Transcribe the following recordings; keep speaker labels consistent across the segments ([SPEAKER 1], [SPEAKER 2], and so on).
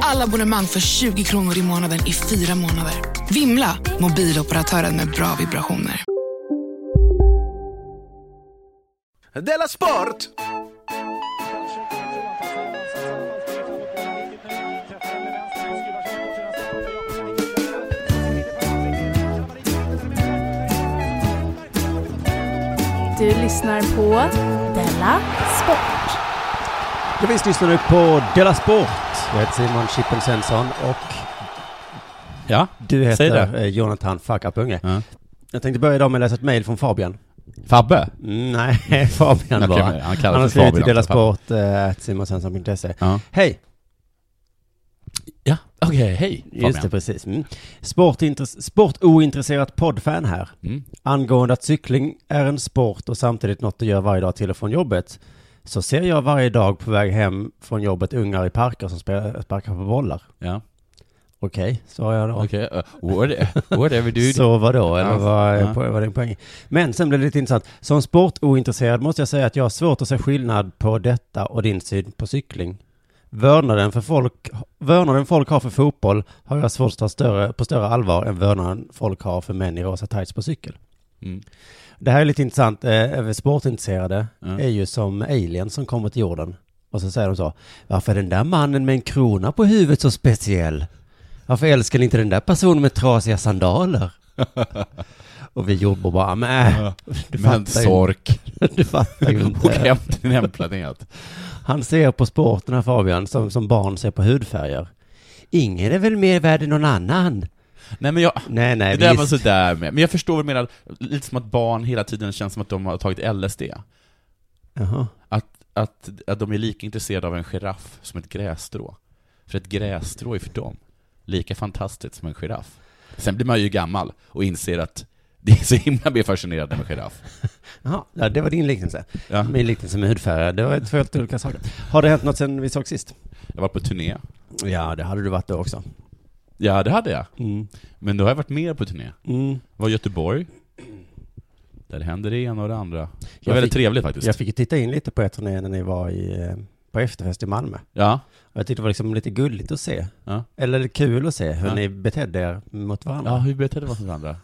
[SPEAKER 1] Alla abonnemang för 20 kronor i månaden i fyra månader. Vimla! Mobiloperatören med bra vibrationer.
[SPEAKER 2] Della Sport!
[SPEAKER 3] Du lyssnar på Della Sport.
[SPEAKER 4] Ja, visst lyssnar du på Della Sport. Jag heter Simon Chippen Svensson och
[SPEAKER 5] Ja,
[SPEAKER 4] du
[SPEAKER 5] säg det.
[SPEAKER 4] heter eh, Jonathan Fuckapunge.
[SPEAKER 5] Ja.
[SPEAKER 4] Jag tänkte börja idag med att läsa ett mejl från Fabian.
[SPEAKER 5] Fabbe?
[SPEAKER 4] Mm, Nej, Fabian
[SPEAKER 5] Okej,
[SPEAKER 4] bara.
[SPEAKER 5] men han kallar
[SPEAKER 4] Han har
[SPEAKER 5] sig
[SPEAKER 4] skrivit till
[SPEAKER 5] Fabian
[SPEAKER 4] Della
[SPEAKER 5] också, Fabbe.
[SPEAKER 4] Sport, eh, simonsvensson.se.
[SPEAKER 5] Ja,
[SPEAKER 4] Hej!
[SPEAKER 5] ja. okej, hej
[SPEAKER 4] Just det, precis. Mm. Sportintress- Sportointresserat poddfan här.
[SPEAKER 5] Mm.
[SPEAKER 4] Angående att cykling är en sport och samtidigt något du gör varje dag till och från jobbet. Så ser jag varje dag på väg hem från jobbet ungar i parker som spelar- sparkar på bollar.
[SPEAKER 5] Ja,
[SPEAKER 4] Okej, sa jag då.
[SPEAKER 5] okej. Okay. What, whatever dude.
[SPEAKER 4] Så vadå, eller
[SPEAKER 5] Ja.
[SPEAKER 4] vad
[SPEAKER 5] Ja.
[SPEAKER 4] ja. var din poäng? Men sen blev det lite intressant. Som sportointresserad måste jag säga att jag har svårt att se skillnad på detta och din syn på cykling. Vördnaden, för folk, vördnaden folk har för fotboll har jag svårt att ta större, på större allvar än vördnaden folk har för män i rosa tights på cykel.
[SPEAKER 5] Mm.
[SPEAKER 4] Det här är lite intressant. Eh, Sportintresserade
[SPEAKER 5] Ja.
[SPEAKER 4] är ju som aliens som kommer till jorden. Och så säger de så. Varför är den där mannen med en krona på huvudet så speciell? Varför älskar ni inte den där personen med trasiga sandaler? Och vi jobbar bara, men du
[SPEAKER 5] Men
[SPEAKER 4] fattar ju
[SPEAKER 5] sork.
[SPEAKER 4] du fattar ju
[SPEAKER 5] Åk
[SPEAKER 4] inte.
[SPEAKER 5] hem till din hemplanet.
[SPEAKER 4] Han ser på sporten här Fabian, som, som barn ser på hudfärger. Ingen är väl mer värd än någon annan?
[SPEAKER 5] Nej men jag...
[SPEAKER 4] Nej, nej,
[SPEAKER 5] det där var
[SPEAKER 4] visst.
[SPEAKER 5] sådär med. Men jag förstår vad du menar. Lite som att barn hela tiden känns som att de har tagit LSD.
[SPEAKER 4] Jaha.
[SPEAKER 5] Att, att, att de är lika intresserade av en giraff som ett grässtrå. För ett grässtrå är för dem lika fantastiskt som en giraff. Sen blir man ju gammal och inser att det är så himla mer fascinerande med giraff.
[SPEAKER 4] Jaha, ja, det var din liknelse.
[SPEAKER 5] Ja.
[SPEAKER 4] Min liknelse med hudfärger, det var två helt olika saker. Har det hänt något sen vi såg sist?
[SPEAKER 5] Jag var på turné.
[SPEAKER 4] Ja, det hade du varit då också.
[SPEAKER 5] Ja, det hade jag.
[SPEAKER 4] Mm.
[SPEAKER 5] Men då har jag varit mer på turné.
[SPEAKER 4] Mm.
[SPEAKER 5] var i Göteborg. Där händer det ena och det andra. Det var
[SPEAKER 4] Jag
[SPEAKER 5] väldigt
[SPEAKER 4] fick-
[SPEAKER 5] trevligt faktiskt.
[SPEAKER 4] Jag fick ju titta in lite på er turné när ni var i, eh, på efterfest i Malmö.
[SPEAKER 5] Ja,
[SPEAKER 4] Och jag tyckte det var liksom lite gulligt att se.
[SPEAKER 5] Ja.
[SPEAKER 4] Eller kul att se hur
[SPEAKER 5] Ja.
[SPEAKER 4] ni betedde er mot varandra.
[SPEAKER 5] ja hur betedde man sig mot varandra?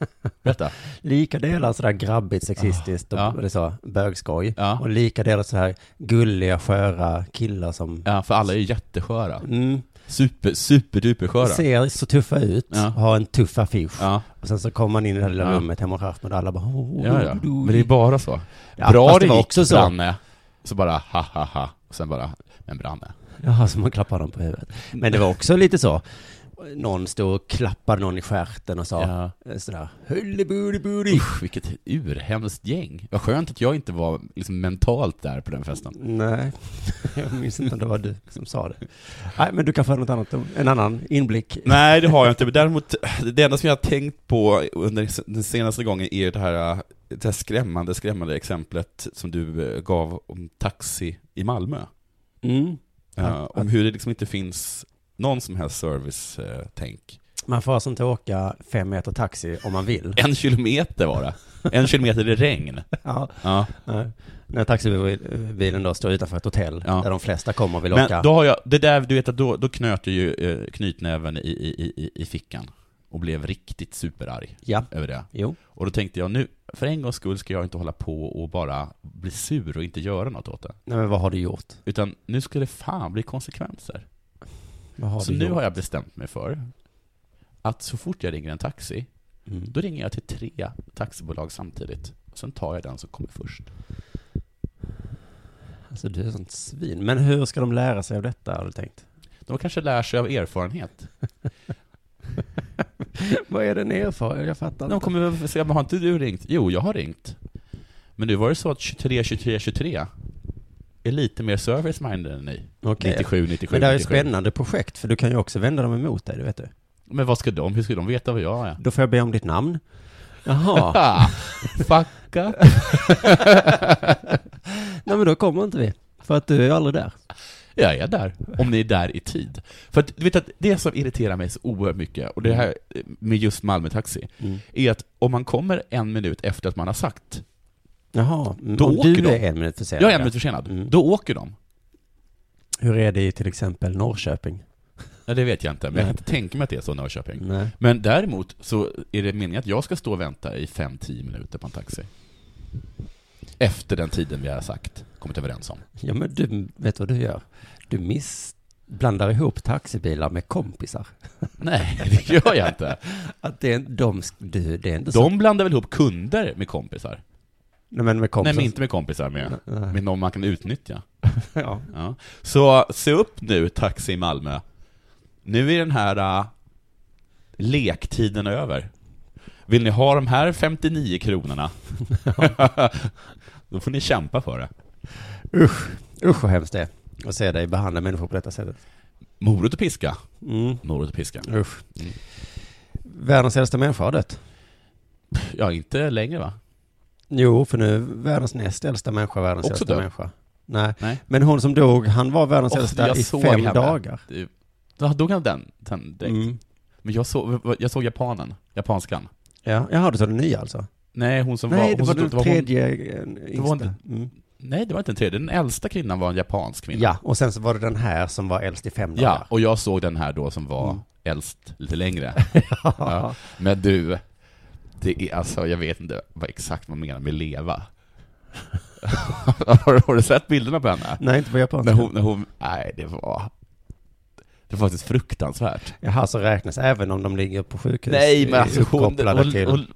[SPEAKER 5] Berätta.
[SPEAKER 4] Lika delar sådär grabbigt, sexistiskt och
[SPEAKER 5] Ja.
[SPEAKER 4] eller så, bögskoj.
[SPEAKER 5] Ja.
[SPEAKER 4] Och lika delar så här gulliga, sköra killar som
[SPEAKER 5] Ja, för alla är ju jättesköra.
[SPEAKER 4] mm,
[SPEAKER 5] Super, superdupersköra.
[SPEAKER 4] ser så tuffa ut,
[SPEAKER 5] Ja.
[SPEAKER 4] har en tuff affisch.
[SPEAKER 5] Ja,
[SPEAKER 4] Och sen så kommer man in i det här lilla
[SPEAKER 5] Ja.
[SPEAKER 4] rummet hemma hos Ahmed och alla bara oh,
[SPEAKER 5] ja, ja.
[SPEAKER 4] oh,
[SPEAKER 5] Men det är bara så.
[SPEAKER 4] Ja,
[SPEAKER 5] Bra
[SPEAKER 4] fast
[SPEAKER 5] det
[SPEAKER 4] det var
[SPEAKER 5] gick,
[SPEAKER 4] också så.
[SPEAKER 5] Branne. Så bara ha ha ha. Och sen bara, men Branne.
[SPEAKER 4] Jaha, så man klappar dem på huvudet. Men det var också lite så. Någon stod och klappade någon i stjärten och sa
[SPEAKER 5] Ja.
[SPEAKER 4] eh, sådär hullibulibuli.
[SPEAKER 5] Usch, vilket urhemskt gäng. Vad skönt att jag inte var liksom mentalt där på den festen.
[SPEAKER 4] Nej, jag minns inte om det var du som sa det. Nej, men du kan få något annat, ord, en annan inblick.
[SPEAKER 5] Nej, det har jag inte. Men däremot, det enda som jag har tänkt på under den senaste gången är det här, eh, det här skrämmande, skrämmande exemplet som du eh, gav om taxi i Malmö.
[SPEAKER 4] Mm.
[SPEAKER 5] Eh,
[SPEAKER 4] Ja.
[SPEAKER 5] om hur det liksom inte finns någon som helst service-tänk.
[SPEAKER 4] Man får alltså inte åka fem meter taxi om man vill.
[SPEAKER 5] En kilometer var det. En kilometer i regn.
[SPEAKER 4] Ja.
[SPEAKER 5] Ja.
[SPEAKER 4] Nej. När taxibilen då står utanför ett hotell
[SPEAKER 5] Ja.
[SPEAKER 4] där de flesta kommer och vill åka.
[SPEAKER 5] Men då har jag, det där, du vet att då, då knöt jag ju eh, knytnäven i, i, i- i, i fickan. Och blev riktigt superarg
[SPEAKER 4] Ja,
[SPEAKER 5] över det.
[SPEAKER 4] jo.
[SPEAKER 5] Och då tänkte jag nu, för en gångs skull ska jag inte hålla på och bara bli sur och inte göra något åt det.
[SPEAKER 4] Nej, men vad har du gjort?
[SPEAKER 5] Utan nu ska det fan bli konsekvenser.
[SPEAKER 4] Vad har
[SPEAKER 5] så
[SPEAKER 4] du
[SPEAKER 5] nu
[SPEAKER 4] gjort?
[SPEAKER 5] har jag bestämt mig för att så fort jag ringer en taxi,
[SPEAKER 4] Mm.
[SPEAKER 5] då ringer jag till tre taxibolag samtidigt. Och sen tar jag den som kommer först.
[SPEAKER 4] Alltså du är sånt svin. Men hur ska de lära sig av detta har du tänkt?
[SPEAKER 5] De kanske lär sig av erfarenhet.
[SPEAKER 4] Vad är den erfarenhet? Jag fattar
[SPEAKER 5] De kommer väl säga, "Men har inte du ringt? Jo, jag har ringt. Men nu var det så att 23, 23, 23 är lite mer service-minded än ni.
[SPEAKER 4] Okej.
[SPEAKER 5] 97, 97,
[SPEAKER 4] Men det här är ett
[SPEAKER 5] 97.
[SPEAKER 4] spännande projekt för du kan ju också vända dem emot dig, du vet du.
[SPEAKER 5] Men vad ska de, hur ska de veta vad jag är?
[SPEAKER 4] Då får jag be om ditt namn. Jaha.
[SPEAKER 5] Ah, fuck up.
[SPEAKER 4] Nej men då kommer inte vi. För att du är ju aldrig där.
[SPEAKER 5] Jag är där, om ni är där i tid. För att, du vet att det som irriterar mig så oerhört mycket, och det här eh, med just Malmö Taxi,
[SPEAKER 4] Mm.
[SPEAKER 5] är att om man kommer en minut efter att man har sagt,
[SPEAKER 4] Jaha. Mm,
[SPEAKER 5] Då
[SPEAKER 4] om
[SPEAKER 5] åker
[SPEAKER 4] du
[SPEAKER 5] de.
[SPEAKER 4] är en minut försenad.
[SPEAKER 5] jag är en minut försenad,
[SPEAKER 4] Mm.
[SPEAKER 5] då åker de.
[SPEAKER 4] Hur är det i till exempel Norrköping?
[SPEAKER 5] Ja, det vet jag inte, men jag
[SPEAKER 4] Nej.
[SPEAKER 5] kan inte tänka mig att det är så i Norrköping.
[SPEAKER 4] Nej.
[SPEAKER 5] Men däremot så är det meningen att jag ska stå och vänta i 5-10 minuter på en taxi. Efter den tiden vi har sagt, kommit överens om.
[SPEAKER 4] Ja men du, vet vad du gör? Du miss blandar ihop taxibilar med kompisar.
[SPEAKER 5] Nej, det gör jag inte.
[SPEAKER 4] Att det är, de, sk- du, det är inte så.
[SPEAKER 5] De blandar väl ihop kunder med kompisar?
[SPEAKER 4] Nej men med kompisar.
[SPEAKER 5] Nej, men inte med kompisar, med,
[SPEAKER 4] Nej.
[SPEAKER 5] med någon man kan utnyttja.
[SPEAKER 4] Ja.
[SPEAKER 5] Ja. Så se upp nu, Taxi i Malmö. Nu är den här äh, lektiden över. Vill ni ha de här 59 kronorna? Då får ni kämpa för det.
[SPEAKER 4] Usch vad hemskt det är. Att se dig behandla människor på detta sättet.
[SPEAKER 5] Morot och piska.
[SPEAKER 4] Mm.
[SPEAKER 5] Morot och piska.
[SPEAKER 4] Usch. Världens äldsta människa har dött.
[SPEAKER 5] Ja, inte längre va?
[SPEAKER 4] Jo, för nu världens näst äldsta människa, världens
[SPEAKER 5] Också
[SPEAKER 4] Också äldsta
[SPEAKER 5] död?
[SPEAKER 4] människa. Nej.
[SPEAKER 5] Nej.
[SPEAKER 4] men hon som dog, han var världens
[SPEAKER 5] Åh,
[SPEAKER 4] äldsta
[SPEAKER 5] jag
[SPEAKER 4] i
[SPEAKER 5] såg
[SPEAKER 4] fem
[SPEAKER 5] henne.
[SPEAKER 4] dagar.
[SPEAKER 5] Du- Då dog han den, den direkt.
[SPEAKER 4] Mm.
[SPEAKER 5] Men jag såg, jag såg japanen, japanskan.
[SPEAKER 4] Ja, jaha, du sa den nya alltså?
[SPEAKER 5] Nej, hon som var...
[SPEAKER 4] Nej,
[SPEAKER 5] hon
[SPEAKER 4] det var
[SPEAKER 5] som,
[SPEAKER 4] den
[SPEAKER 5] hon-
[SPEAKER 4] tredje eh,
[SPEAKER 5] var
[SPEAKER 4] yngsta. Mm.
[SPEAKER 5] nej, det var inte den tredje. Den äldsta kvinnan var en japansk kvinna.
[SPEAKER 4] Ja, och sen så var det den här som var äldst i fem
[SPEAKER 5] Ja,
[SPEAKER 4] dagar.
[SPEAKER 5] och jag såg den här då som var
[SPEAKER 4] Mm.
[SPEAKER 5] äldst lite längre. ja. Men du, det är alltså, jag vet inte vad exakt man menar med leva. har, har du sett bilderna på henne?
[SPEAKER 4] Nej, inte på
[SPEAKER 5] När
[SPEAKER 4] japanska.
[SPEAKER 5] hon, när hon, nej det var, det var faktiskt fruktansvärt.
[SPEAKER 4] Jaha, så räknas även om de ligger på sjukhus?
[SPEAKER 5] Nej men alltså hon, hon,
[SPEAKER 4] uppkopplade
[SPEAKER 5] hon,
[SPEAKER 4] till...
[SPEAKER 5] hon,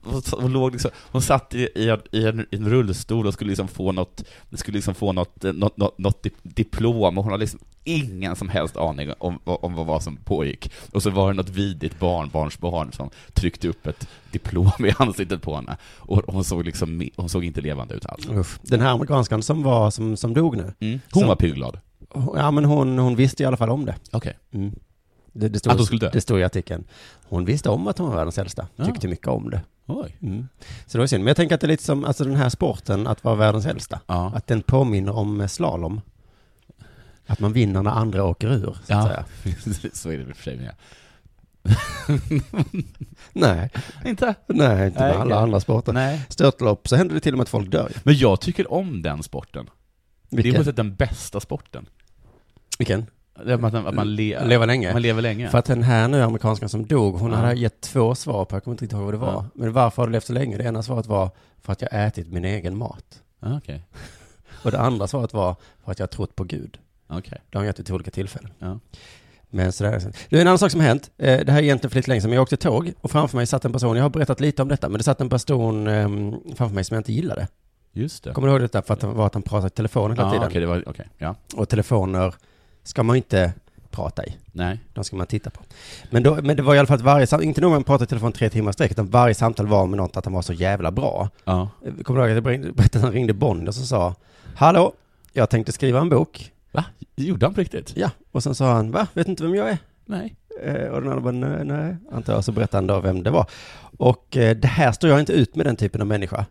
[SPEAKER 5] hon, låg liksom, hon satt i, i, en, i en- i en rullstol och skulle liksom få något, skulle liksom få något, eh, något, något, något dip- diplom och hon har liksom ingen som helst aning om, om vad vad som pågick. Och så var det något vidigt barnbarnsbarn som tryckte upp ett diplom i ansiktet på henne. Och hon såg liksom, mi- hon såg inte levande ut alls.
[SPEAKER 4] Usch. Den här amerikanskan som var, som, som dog nu.
[SPEAKER 5] Mm. Hon
[SPEAKER 4] Så-
[SPEAKER 5] var pyrglad.
[SPEAKER 4] Ja, men hon, hon visste i alla fall om det.
[SPEAKER 5] Okej.
[SPEAKER 4] Mm. Det, det, stod,
[SPEAKER 5] Att hon skulle dö?
[SPEAKER 4] det stod i artikeln. Hon visste om att hon var världens äldsta.
[SPEAKER 5] Ja.
[SPEAKER 4] Tyckte mycket om det.
[SPEAKER 5] Oj.
[SPEAKER 4] Mm. Så det var synd. Men jag tänker att det är lite som alltså, den här sporten, att vara världens äldsta.
[SPEAKER 5] Ja.
[SPEAKER 4] Att den påminner om eh, slalom. Att man vinner när andra åker ur, så att
[SPEAKER 5] Ja,
[SPEAKER 4] säga.
[SPEAKER 5] så är det i och för sig med.
[SPEAKER 4] Nej,
[SPEAKER 5] Inte?
[SPEAKER 4] nej,
[SPEAKER 5] Nej,
[SPEAKER 4] inte med alla
[SPEAKER 5] okej.
[SPEAKER 4] andra sporter.
[SPEAKER 5] Nej.
[SPEAKER 4] Störtlopp, så händer det till och med att folk dör. ju.
[SPEAKER 5] Men jag tycker om den sporten. Det är på
[SPEAKER 4] Vilken?
[SPEAKER 5] något sätt den bästa sporten.
[SPEAKER 4] Vilken?
[SPEAKER 5] Det är Att man, att man le-
[SPEAKER 4] Leva länge.
[SPEAKER 5] Man lever länge.
[SPEAKER 4] För att den här nu amerikanskan som dog, hon
[SPEAKER 5] Ja.
[SPEAKER 4] hade gett två svar på, jag kommer inte riktigt ihåg vad det var.
[SPEAKER 5] Ja.
[SPEAKER 4] Men varför har du levt så länge? Det ena svaret var för att jag ätit min egen mat.
[SPEAKER 5] Ah, Okej.
[SPEAKER 4] Och det andra svaret var för att jag har trott på Gud.
[SPEAKER 5] Okej.
[SPEAKER 4] Det har han gett vid olika tillfällen.
[SPEAKER 5] Ja.
[SPEAKER 4] Men sådär. Du, en annan sak som har hänt. eh, Det här är egentligen för lite länge sedan, men jag åkte tåg och framför mig satt en person, jag har berättat lite om detta, men det satt en person ehm, framför mig som jag inte gillade.
[SPEAKER 5] Just det.
[SPEAKER 4] Kommer du ihåg detta? För att det var att han pratade i telefonen hela
[SPEAKER 5] ah,
[SPEAKER 4] tiden.
[SPEAKER 5] Okej, det var, okej. ja.
[SPEAKER 4] Och telefoner ska man ju inte prata i.
[SPEAKER 5] Nej.
[SPEAKER 4] De ska man titta på. Men, då, men det var i alla fall att varje samtal, inte nog med att man pratade i telefon tre timmar i sträck, utan varje samtal var med något att han var så jävla bra.
[SPEAKER 5] Ja.
[SPEAKER 4] Eh, Kommer du ihåg att jag berättade- berättade att han ringde Bond och så sa, hallå, jag tänkte skriva en bok.
[SPEAKER 5] Va? Gjorde han på riktigt?
[SPEAKER 4] Ja, och sen sa han, va, vet inte vem jag är?
[SPEAKER 5] Nej.
[SPEAKER 4] Eh, Och den andra bara, nej, nej, antar jag, så berättade han då vem det var. Och eh, det här står jag inte ut med den typen av människa.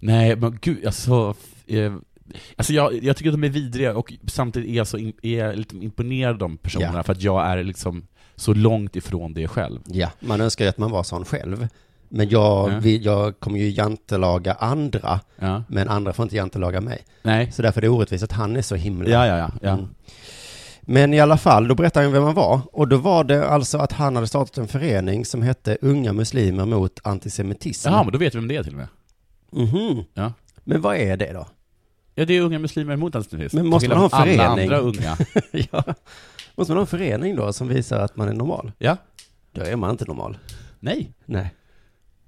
[SPEAKER 5] Nej, men gud, alltså... Eh, alltså jag, jag tycker att de är vidriga och samtidigt är jag så in, är jag lite imponerad av de personerna
[SPEAKER 4] Ja.
[SPEAKER 5] för att jag är liksom så långt ifrån det själv.
[SPEAKER 4] Ja, man önskar ju att man var sån själv. Men jag,
[SPEAKER 5] Ja.
[SPEAKER 4] vill, jag kommer ju jantelaga andra,
[SPEAKER 5] Ja.
[SPEAKER 4] men andra får inte jantelaga mig.
[SPEAKER 5] Nej.
[SPEAKER 4] Så därför är det orättvist att han är så himla...
[SPEAKER 5] Ja, ja, ja. ja.
[SPEAKER 4] Mm. Men i alla fall, då berättade han vem han var. Och då var det alltså att han hade startat en förening som hette Unga Muslimer mot Antisemitism.
[SPEAKER 5] Jaha, men då vet vi vem det är till och med.
[SPEAKER 4] Mhm.
[SPEAKER 5] Ja.
[SPEAKER 4] Men vad är det då?
[SPEAKER 5] Ja, det är unga muslimer mot antisemitism.
[SPEAKER 4] Men måste
[SPEAKER 5] Till
[SPEAKER 4] man ha en
[SPEAKER 5] Alla
[SPEAKER 4] förening?
[SPEAKER 5] andra unga.
[SPEAKER 4] ja. Måste man ha en förening då som visar att man är normal?
[SPEAKER 5] Ja.
[SPEAKER 4] Då är man inte normal.
[SPEAKER 5] Nej.
[SPEAKER 4] Nej.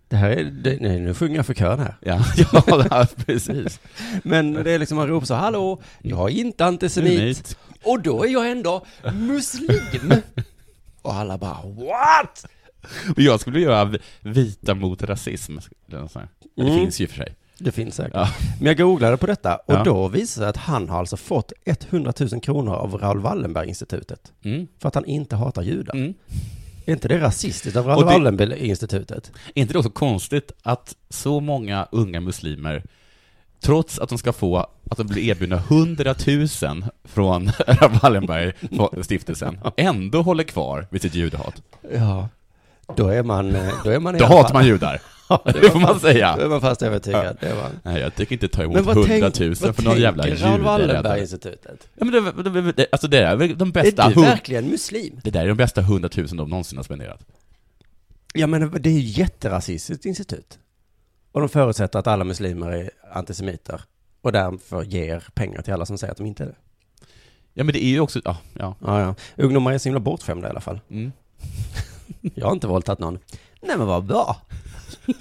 [SPEAKER 4] Det här är, det, nej, nu sjunger jag för kön här.
[SPEAKER 5] Ja, ja, ja precis.
[SPEAKER 4] Men det är liksom, han ropar så hallå, jag är inte antisemit.
[SPEAKER 5] Semit.
[SPEAKER 4] Och då är jag ändå muslim. Och alla bara what?
[SPEAKER 5] Och jag skulle göra v- vita mot rasism. eller något sånt här. Det
[SPEAKER 4] Mm.
[SPEAKER 5] finns ju i och för sig.
[SPEAKER 4] Det finns säkert.
[SPEAKER 5] Ja.
[SPEAKER 4] Men jag googlade på detta och
[SPEAKER 5] Ja.
[SPEAKER 4] då visade det sig att han har alltså fått 100 000 kronor av Raoul Wallenberg-institutet.
[SPEAKER 5] Mm.
[SPEAKER 4] För att han inte hatar judar.
[SPEAKER 5] Mm.
[SPEAKER 4] Är inte det rasistiskt av Raoul
[SPEAKER 5] Och det-
[SPEAKER 4] Wallenberg-institutet?
[SPEAKER 5] Är inte det också konstigt att så många unga muslimer, trots att de ska få, att de blir erbjudna 100 000 från Wallenberg-stiftelsen, ändå håller kvar vid sitt judehat?
[SPEAKER 4] Ja. Då är man... eh, Då, är man i
[SPEAKER 5] Då
[SPEAKER 4] alla
[SPEAKER 5] hatar
[SPEAKER 4] fall-
[SPEAKER 5] man judar. Det får man
[SPEAKER 4] Då är
[SPEAKER 5] säga.
[SPEAKER 4] man fast övertygad. Det är man.
[SPEAKER 5] Nej, jag tycker inte ta emot
[SPEAKER 4] Men
[SPEAKER 5] 100
[SPEAKER 4] vad,
[SPEAKER 5] 000
[SPEAKER 4] tänk,
[SPEAKER 5] för
[SPEAKER 4] vad
[SPEAKER 5] någon jävla
[SPEAKER 4] tänker Raoul
[SPEAKER 5] jude.
[SPEAKER 4] Wallenberg-institutet?
[SPEAKER 5] Ja, men det, det, det, alltså det är väl de
[SPEAKER 4] Är
[SPEAKER 5] bästa...
[SPEAKER 4] du
[SPEAKER 5] hun-
[SPEAKER 4] verkligen muslim?
[SPEAKER 5] Det där är de bästa 100 000 de någonsin har spenderat.
[SPEAKER 4] Ja men det är ju ett jätterasistiskt institut. Och de förutsätter att alla muslimer är antisemiter. Och därför ger pengar till alla som säger att de inte är det.
[SPEAKER 5] Ja, men det är ju också... Ja, ja.
[SPEAKER 4] Ja, ja. Ungdomar är så himla bortskämda i alla fall.
[SPEAKER 5] Mm.
[SPEAKER 4] Jag har inte våldtagit någon. Nej men vad bra!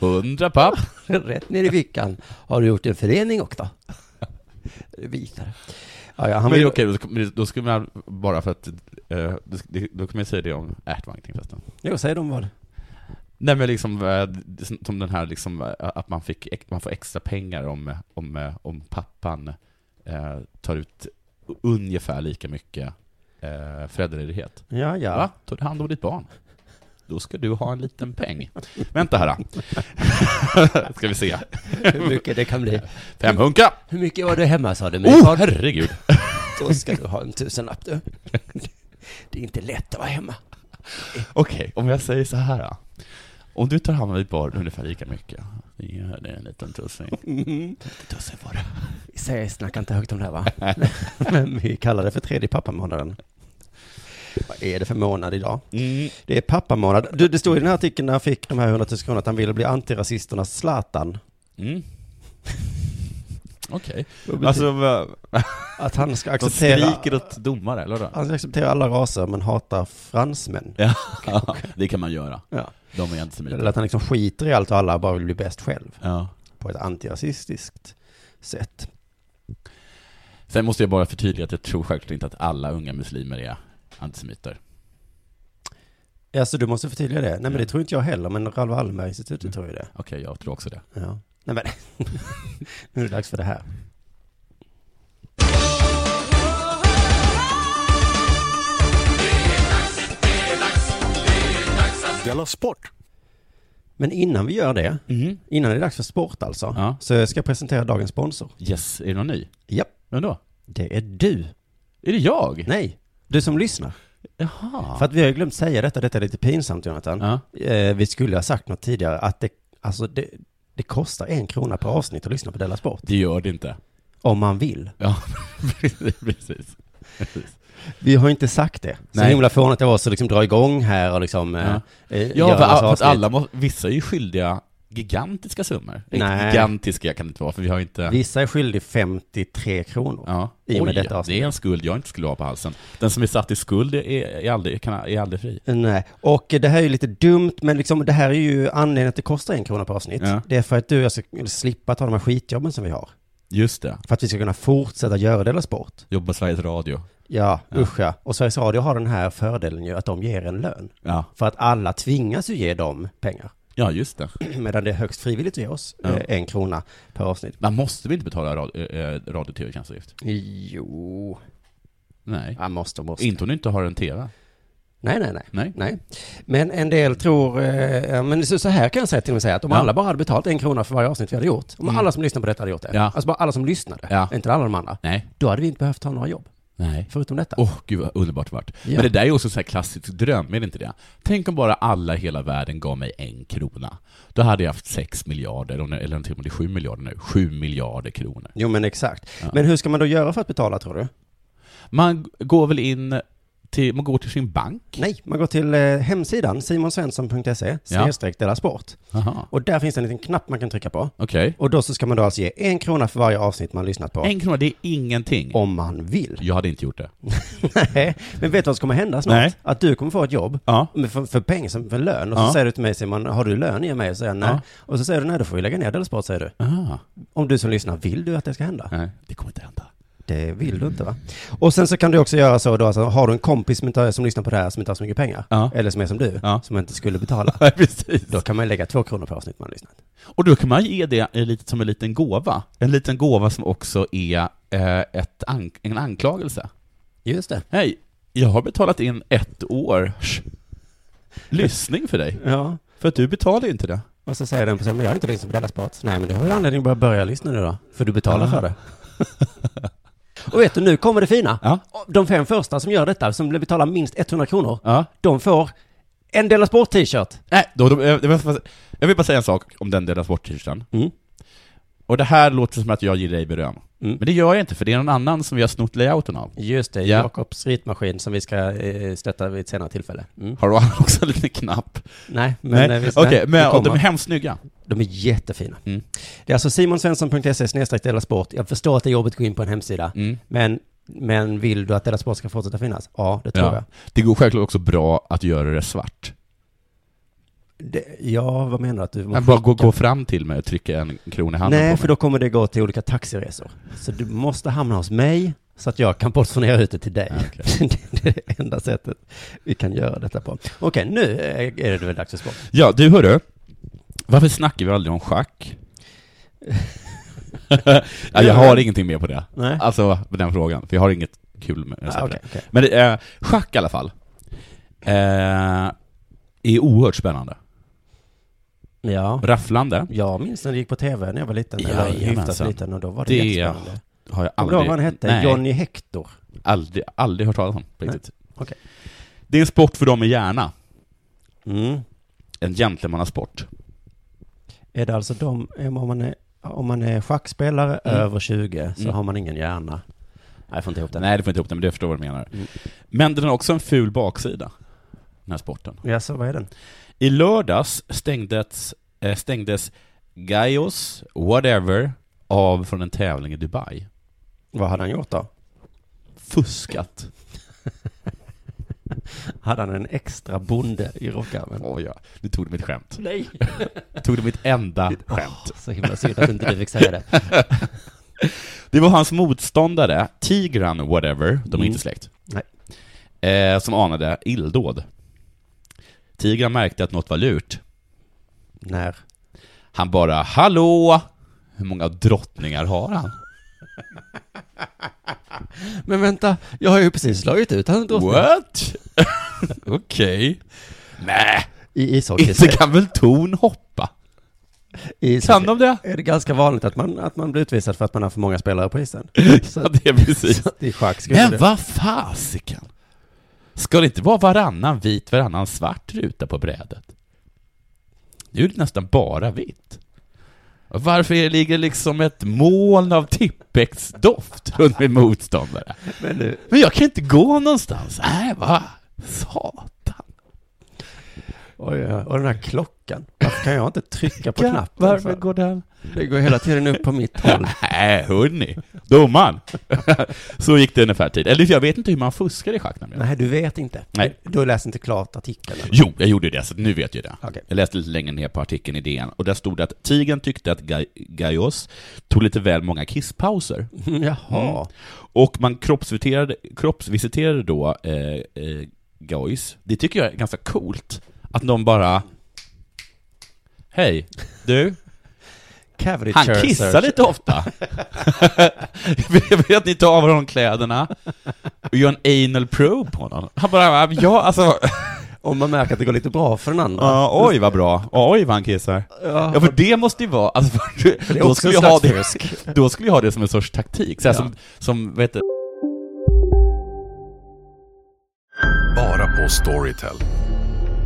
[SPEAKER 5] 100 papp.
[SPEAKER 4] Rätt ner i fickan. Har du gjort en förening också? Det Visar. Ja, ja, han
[SPEAKER 5] men
[SPEAKER 4] vill...
[SPEAKER 5] okej, då, men då skulle man bara för att, eh, då, då kan man ju säga det om ärtvankningsfesten.
[SPEAKER 4] Jo, säg de vad.
[SPEAKER 5] Nej men liksom, eh, som den här liksom, eh, att man, fick, ex- man får extra pengar om, eh, om, eh, om pappan eh, tar ut ungefär lika mycket eh, föräldraledighet.
[SPEAKER 4] Ja, ja.
[SPEAKER 5] Va? Tar du hand om ditt barn? Då ska du ha en liten peng. Vänta här då. Ska vi se.
[SPEAKER 4] Hur mycket det kan bli.
[SPEAKER 5] Femhunka!
[SPEAKER 4] Hur mycket var du hemma sa du? Men
[SPEAKER 5] Oh, herregud!
[SPEAKER 4] Då ska du ha en tusenlapp du. Det är inte lätt att vara hemma.
[SPEAKER 5] Okej, om jag säger så här då. Om du tar hand om ditt barn ungefär lika mycket. Ja, det är en liten tussing.
[SPEAKER 4] Mm.
[SPEAKER 5] Tusen var det.
[SPEAKER 4] Säg, snacka inte högt om det här va? Men vi kallar det för tredje pappamånaden. Vad är det för månad idag?
[SPEAKER 5] Mm.
[SPEAKER 4] Det är pappamånad. Du, det stod i den här artikeln när han fick de här 100 000 kronorna att han ville bli antirasisternas Zlatan.
[SPEAKER 5] Mm. Okej.
[SPEAKER 4] Vad betyder-
[SPEAKER 5] Alltså, vad-
[SPEAKER 4] Att han ska
[SPEAKER 5] de
[SPEAKER 4] acceptera,
[SPEAKER 5] skriker åt domare, eller vadå?
[SPEAKER 4] han ska acceptera alla raser men hatar fransmän.
[SPEAKER 5] Ja, det kan man göra.
[SPEAKER 4] Ja.
[SPEAKER 5] De är
[SPEAKER 4] Eller
[SPEAKER 5] antisemiter.
[SPEAKER 4] att han liksom skiter i allt och alla och bara vill bli bäst själv.
[SPEAKER 5] Ja.
[SPEAKER 4] På ett antirasistiskt sätt.
[SPEAKER 5] Sen måste jag bara förtydliga att jag tror självklart inte att alla unga muslimer är antisemiter.
[SPEAKER 4] Alltså du måste förtydliga det. Nej men det tror inte jag heller, men Raoul Wallenberg-institutet tror ju det.
[SPEAKER 5] Okej, jag tror också det.
[SPEAKER 4] Ja. Nej men, nu är det dags för det här.
[SPEAKER 2] Della Sport!
[SPEAKER 4] Men innan vi gör det, innan det är dags för sport alltså,
[SPEAKER 5] Ja.
[SPEAKER 4] så ska jag presentera dagens sponsor.
[SPEAKER 5] Yes, är det någon ny?
[SPEAKER 4] Japp,
[SPEAKER 5] Vem då?
[SPEAKER 4] det är du.
[SPEAKER 5] Är det jag?
[SPEAKER 4] Nej, du som lyssnar.
[SPEAKER 5] Jaha.
[SPEAKER 4] För att vi har ju glömt säga detta, detta är lite pinsamt Jonathan.
[SPEAKER 5] Ja.
[SPEAKER 4] Eh, vi skulle ha sagt något tidigare, att det, alltså det, det kostar en krona per avsnitt att lyssna på Della Sport.
[SPEAKER 5] Det gör det inte.
[SPEAKER 4] Om man vill.
[SPEAKER 5] Ja, precis. precis.
[SPEAKER 4] Vi har ju inte sagt det. Så
[SPEAKER 5] Nej.
[SPEAKER 4] himla fånigt det var så liksom dra igång här och liksom... eh, eh,
[SPEAKER 5] Ja,
[SPEAKER 4] göra
[SPEAKER 5] för,
[SPEAKER 4] massa
[SPEAKER 5] för att
[SPEAKER 4] avsnitt.
[SPEAKER 5] alla må, vissa är ju skyldiga gigantiska summor.
[SPEAKER 4] Nej.
[SPEAKER 5] Gigantiska kan det inte vara, för vi har inte...
[SPEAKER 4] Vissa är skyldig 53 kronor.
[SPEAKER 5] Ja.
[SPEAKER 4] I och med
[SPEAKER 5] Oj,
[SPEAKER 4] detta avsnitt.
[SPEAKER 5] det är en skuld jag inte skulle ha på halsen. Den som är satt i skuld är, är, aldrig, kan, är aldrig fri.
[SPEAKER 4] Nej, eh, och det här är ju lite dumt, men liksom, det här är ju anledningen att det kostar en krona per avsnitt.
[SPEAKER 5] Ja.
[SPEAKER 4] Det är för att du och jag ska slippa ta de här skitjobben som vi har.
[SPEAKER 5] Just det.
[SPEAKER 4] För att vi ska kunna fortsätta göra Della Sport.
[SPEAKER 5] Jobba på Sveriges Radio.
[SPEAKER 4] Ja, usch ja. Och Sveriges Radio har den här fördelen ju, att de ger en lön.
[SPEAKER 5] Ja,
[SPEAKER 4] För att alla tvingas ju ge dem pengar.
[SPEAKER 5] ja just det.
[SPEAKER 4] Medan det är högst frivilligt att ge oss
[SPEAKER 5] Ja.
[SPEAKER 4] eh, en krona per avsnitt.
[SPEAKER 5] Man måste väl inte betala radio, eh, radio tv tjänstavgift?
[SPEAKER 4] Jo,
[SPEAKER 5] Nej.
[SPEAKER 4] man måste, måste.
[SPEAKER 5] Inte om du inte har en TV.
[SPEAKER 4] Nej, nej, nej.
[SPEAKER 5] Nej.
[SPEAKER 4] Nej, men en del tror, eh, ja, men så så här kan jag säga till och med säga att om
[SPEAKER 5] Ja. Mm.
[SPEAKER 4] alla bara hade betalt en krona för varje avsnitt vi hade gjort, om alla som lyssnar på detta hade gjort det,
[SPEAKER 5] Ja.
[SPEAKER 4] alltså bara alla som lyssnade,
[SPEAKER 5] Ja.
[SPEAKER 4] inte alla de andra,
[SPEAKER 5] Nej.
[SPEAKER 4] då hade vi inte behövt ha några jobb,
[SPEAKER 5] Nej.
[SPEAKER 4] förutom detta.
[SPEAKER 5] Åh, oh, gud vad underbart det vart.
[SPEAKER 4] Ja.
[SPEAKER 5] Men det där är ju också en sån här klassisk dröm, är det inte det? Tänk om bara alla i hela världen gav mig en krona. Då hade jag haft sex miljarder, om det- eller till och med det är sju miljarder nu, sju miljarder kronor.
[SPEAKER 4] Jo men exakt. Men hur ska man då göra för att betala tror du?
[SPEAKER 5] Man g- går väl in till, man går till sin bank.
[SPEAKER 4] Nej, man går till eh, hemsidan simonsvensson.se, snedstreck Della Sport.
[SPEAKER 5] Jaha,
[SPEAKER 4] Och där finns det en liten knapp man kan trycka på.
[SPEAKER 5] okej.
[SPEAKER 4] Och då så ska man då alltså ge en krona för varje avsnitt man lyssnat på.
[SPEAKER 5] En krona, det är ingenting.
[SPEAKER 4] Om man vill.
[SPEAKER 5] Jag hade inte gjort det.
[SPEAKER 4] Nej, men vet du vad som kommer hända snart?
[SPEAKER 5] Nej.
[SPEAKER 4] Att du kommer få ett jobb.
[SPEAKER 5] Ja.
[SPEAKER 4] Men för, för pengar, som för lön. Och så
[SPEAKER 5] Ja.
[SPEAKER 4] säger du till mig Simon, har du lön i mig? Och säger jag, nej.
[SPEAKER 5] Ja.
[SPEAKER 4] Och så säger du nej, då får vi lägga ner Della Sport, säger du.
[SPEAKER 5] Aha.
[SPEAKER 4] Om du som lyssnar, vill du att det ska hända?
[SPEAKER 5] Nej, Ah. det kommer inte hända.
[SPEAKER 4] Det vill du inte va? Och sen så kan du också göra så då, alltså, har du en kompis som, inte, som lyssnar på det här som inte har så mycket pengar,
[SPEAKER 5] Ja.
[SPEAKER 4] eller som är som du,
[SPEAKER 5] Ja.
[SPEAKER 4] som inte skulle betala,
[SPEAKER 5] Nej, precis.
[SPEAKER 4] då kan man ju lägga två kronor på avsnitt man har lyssnat.
[SPEAKER 5] Och då kan man ge det en liten- som en liten gåva. En liten gåva som också är eh, ett an- en anklagelse.
[SPEAKER 4] Just det.
[SPEAKER 5] Hej, jag har betalat in ett års lyssning för dig.
[SPEAKER 4] Ja.
[SPEAKER 5] För att du betalade inte det.
[SPEAKER 4] Och så säger den personen, men jag har inte lyssnat på Della Sport. Nej men du har ju anledning att bara börja lyssna nu då, för du betalar
[SPEAKER 5] Ja.
[SPEAKER 4] för det. Och vet du, nu kommer det fina.
[SPEAKER 5] Ja.
[SPEAKER 4] De fem första som gör detta, som betalar minst 100 kronor,
[SPEAKER 5] Ja.
[SPEAKER 4] de får en Della Sport-t-shirt.
[SPEAKER 5] Nej, då, då, jag, jag vill bara- jag vill bara säga en sak om den delas bort t-shirten.
[SPEAKER 4] Mm.
[SPEAKER 5] Och det här låter som att jag ger dig beröm.
[SPEAKER 4] Mm.
[SPEAKER 5] Men det gör jag inte, för det är någon annan som vi har snott layouten av.
[SPEAKER 4] Just det,
[SPEAKER 5] Ja.
[SPEAKER 4] Jakobs ritmaskin som vi ska eh, stötta vid ett senare tillfälle. Mm.
[SPEAKER 5] Har du också en liten knapp?
[SPEAKER 4] Nej, men... eh,
[SPEAKER 5] Nej,
[SPEAKER 4] visst,
[SPEAKER 5] Okej,
[SPEAKER 4] nej, det
[SPEAKER 5] men och de är
[SPEAKER 4] kommer.
[SPEAKER 5] hemskt snygga.
[SPEAKER 4] De är jättefina.
[SPEAKER 5] Mm.
[SPEAKER 4] Det är alltså simonsvensson.se snedstreck Della Sport. Jag förstår att det är jobbigt att gå in på en hemsida.
[SPEAKER 5] Mm.
[SPEAKER 4] Men, men vill du att Della Sport ska fortsätta finnas? Ja, det tror
[SPEAKER 5] Ja.
[SPEAKER 4] jag.
[SPEAKER 5] Det går självklart också bra att göra det svart.
[SPEAKER 4] Det, ja, vad menar du? Att du
[SPEAKER 5] Men bara gå, gå fram till mig och trycka en krona i handen
[SPEAKER 4] Nej,
[SPEAKER 5] på
[SPEAKER 4] för
[SPEAKER 5] mig.
[SPEAKER 4] då kommer det gå till olika taxiresor. Så du måste hamna hos mig så att jag kan portionera ut det till dig.
[SPEAKER 5] Ja,
[SPEAKER 4] det är det enda sättet vi kan göra detta på. Okej, nu eh, är det väl dags för sport.
[SPEAKER 5] Ja, du hörru. Varför snackar vi aldrig om schack? ja, jag har ingenting mer på det.
[SPEAKER 4] Nej.
[SPEAKER 5] Alltså, på den frågan. För jag har inget kul med jag
[SPEAKER 4] Ah,
[SPEAKER 5] släpper
[SPEAKER 4] okej,
[SPEAKER 5] det.
[SPEAKER 4] okej.
[SPEAKER 5] Men det, eh, schack i alla fall. Eh, är oerhört spännande.
[SPEAKER 4] Ja.
[SPEAKER 5] Rafflande.
[SPEAKER 4] Jag minns när det gick på tv när jag var liten, eller hyfsat
[SPEAKER 5] Jajamensan.
[SPEAKER 4] liten, och då var det,
[SPEAKER 5] Det-
[SPEAKER 4] jättespännande.
[SPEAKER 5] Har jag
[SPEAKER 4] Kommer du
[SPEAKER 5] aldrig...
[SPEAKER 4] ihåg vad han hette?
[SPEAKER 5] Nej,
[SPEAKER 4] Johnny Hector.
[SPEAKER 5] aldrig, aldrig hört talas om. på
[SPEAKER 4] Nej.
[SPEAKER 5] Riktigt.
[SPEAKER 4] Okej.
[SPEAKER 5] Det är en sport för dem med hjärna.
[SPEAKER 4] Mm.
[SPEAKER 5] En gentlemannasport.
[SPEAKER 4] Är det alltså de, om man är, om man är schackspelare
[SPEAKER 5] Mm.
[SPEAKER 4] över 20 så
[SPEAKER 5] Mm.
[SPEAKER 4] har man ingen hjärna? Nej, jag får inte ihop det.
[SPEAKER 5] Nej, du får inte ihop det, men du förstår vad du menar.
[SPEAKER 4] Mm.
[SPEAKER 5] Men den har också en ful baksida, den här sporten.
[SPEAKER 4] Ja, så vad är den?
[SPEAKER 5] I lördags stängdes, eh, stängdes Gaios Whatever av från en tävling i Dubai.
[SPEAKER 4] Vad hade han gjort då?
[SPEAKER 5] Fuskat.
[SPEAKER 4] Hade han en extra bonde i rockärmen?
[SPEAKER 5] Åh ja, nu tog du mitt skämt.
[SPEAKER 4] Nej!
[SPEAKER 5] Tog du mitt enda skämt.
[SPEAKER 4] Så himla synd att inte du fick säga det.
[SPEAKER 5] Det var hans motståndare, Tigran Whatever, de är
[SPEAKER 4] Mm.
[SPEAKER 5] inte släkt,
[SPEAKER 4] Nej.
[SPEAKER 5] eh, som anade illdåd. Tigran märkte att något var lurt.
[SPEAKER 4] När?
[SPEAKER 5] Han bara ”Hallå!” Hur många drottningar har han?
[SPEAKER 4] Men vänta, jag har ju precis slagit ut han
[SPEAKER 5] What? Okej. Nej,
[SPEAKER 4] I ishockey.
[SPEAKER 5] inte kan väl torn hoppa?
[SPEAKER 4] I ishockey.
[SPEAKER 5] Kan de det?
[SPEAKER 4] Är det ganska vanligt att man, att man blir utvisad för att man har för många spelare på isen? Så
[SPEAKER 5] Ja, det är precis.
[SPEAKER 4] att i schack skulle
[SPEAKER 5] Men
[SPEAKER 4] det-
[SPEAKER 5] vad fasiken? Ska det inte vara varannan vit, varannan svart ruta på brädet? Nu är det nästan bara vitt. Och Varför är det ligger liksom ett moln av Tippex doft runt min motståndare?
[SPEAKER 4] Men nu,
[SPEAKER 5] Men jag kan inte gå någonstans. Nej, va? Satan.
[SPEAKER 4] Oj, oj, oj. och den här klockan. Varför kan jag inte trycka på knappen?
[SPEAKER 5] Varför
[SPEAKER 4] för?
[SPEAKER 5] går den?
[SPEAKER 4] Det går hela tiden upp på mitt håll.
[SPEAKER 5] Nej, hörni. Domaren. Så gick det ungefär tid. Eller jag vet inte hur man fuskar i schack nämligen.
[SPEAKER 4] Nej, du vet inte.
[SPEAKER 5] Nej.
[SPEAKER 4] Du, du läser inte klart artikeln. eller?
[SPEAKER 5] Jo, jag gjorde det, så nu vet jag det.
[SPEAKER 4] Okej.
[SPEAKER 5] Jag läste lite längre ner på artikeln i DN och där stod det att Tigern tyckte att Gai- Gaios tog lite väl många kisspauser.
[SPEAKER 4] Jaha.
[SPEAKER 5] Mm. Och man kroppsvisiterade, kroppsvisiterade då eh, eh, Gaios. Det tycker jag är ganska coolt. Att någon bara... Hej, du.
[SPEAKER 4] Cavity
[SPEAKER 5] Han
[SPEAKER 4] chair
[SPEAKER 5] kissar
[SPEAKER 4] search.
[SPEAKER 5] lite ofta. jag vill att ni tar av honom kläderna och gör en anal probe på honom. Han bara, ja alltså,
[SPEAKER 4] Om man märker att det går lite bra för den andra.
[SPEAKER 5] ja, oj vad bra, Ja, oj vad han kissar.
[SPEAKER 4] Ja.
[SPEAKER 5] Ja för det måste ju vara, alltså, för,
[SPEAKER 4] Det är
[SPEAKER 5] då,
[SPEAKER 4] också
[SPEAKER 5] skulle
[SPEAKER 4] en
[SPEAKER 5] jag ha
[SPEAKER 4] slags
[SPEAKER 5] det,
[SPEAKER 4] fusk.
[SPEAKER 5] då skulle jag ha det som en sorts taktik, så här,
[SPEAKER 4] Ja.
[SPEAKER 5] som, som, vet du,
[SPEAKER 2] Bara på Storytel.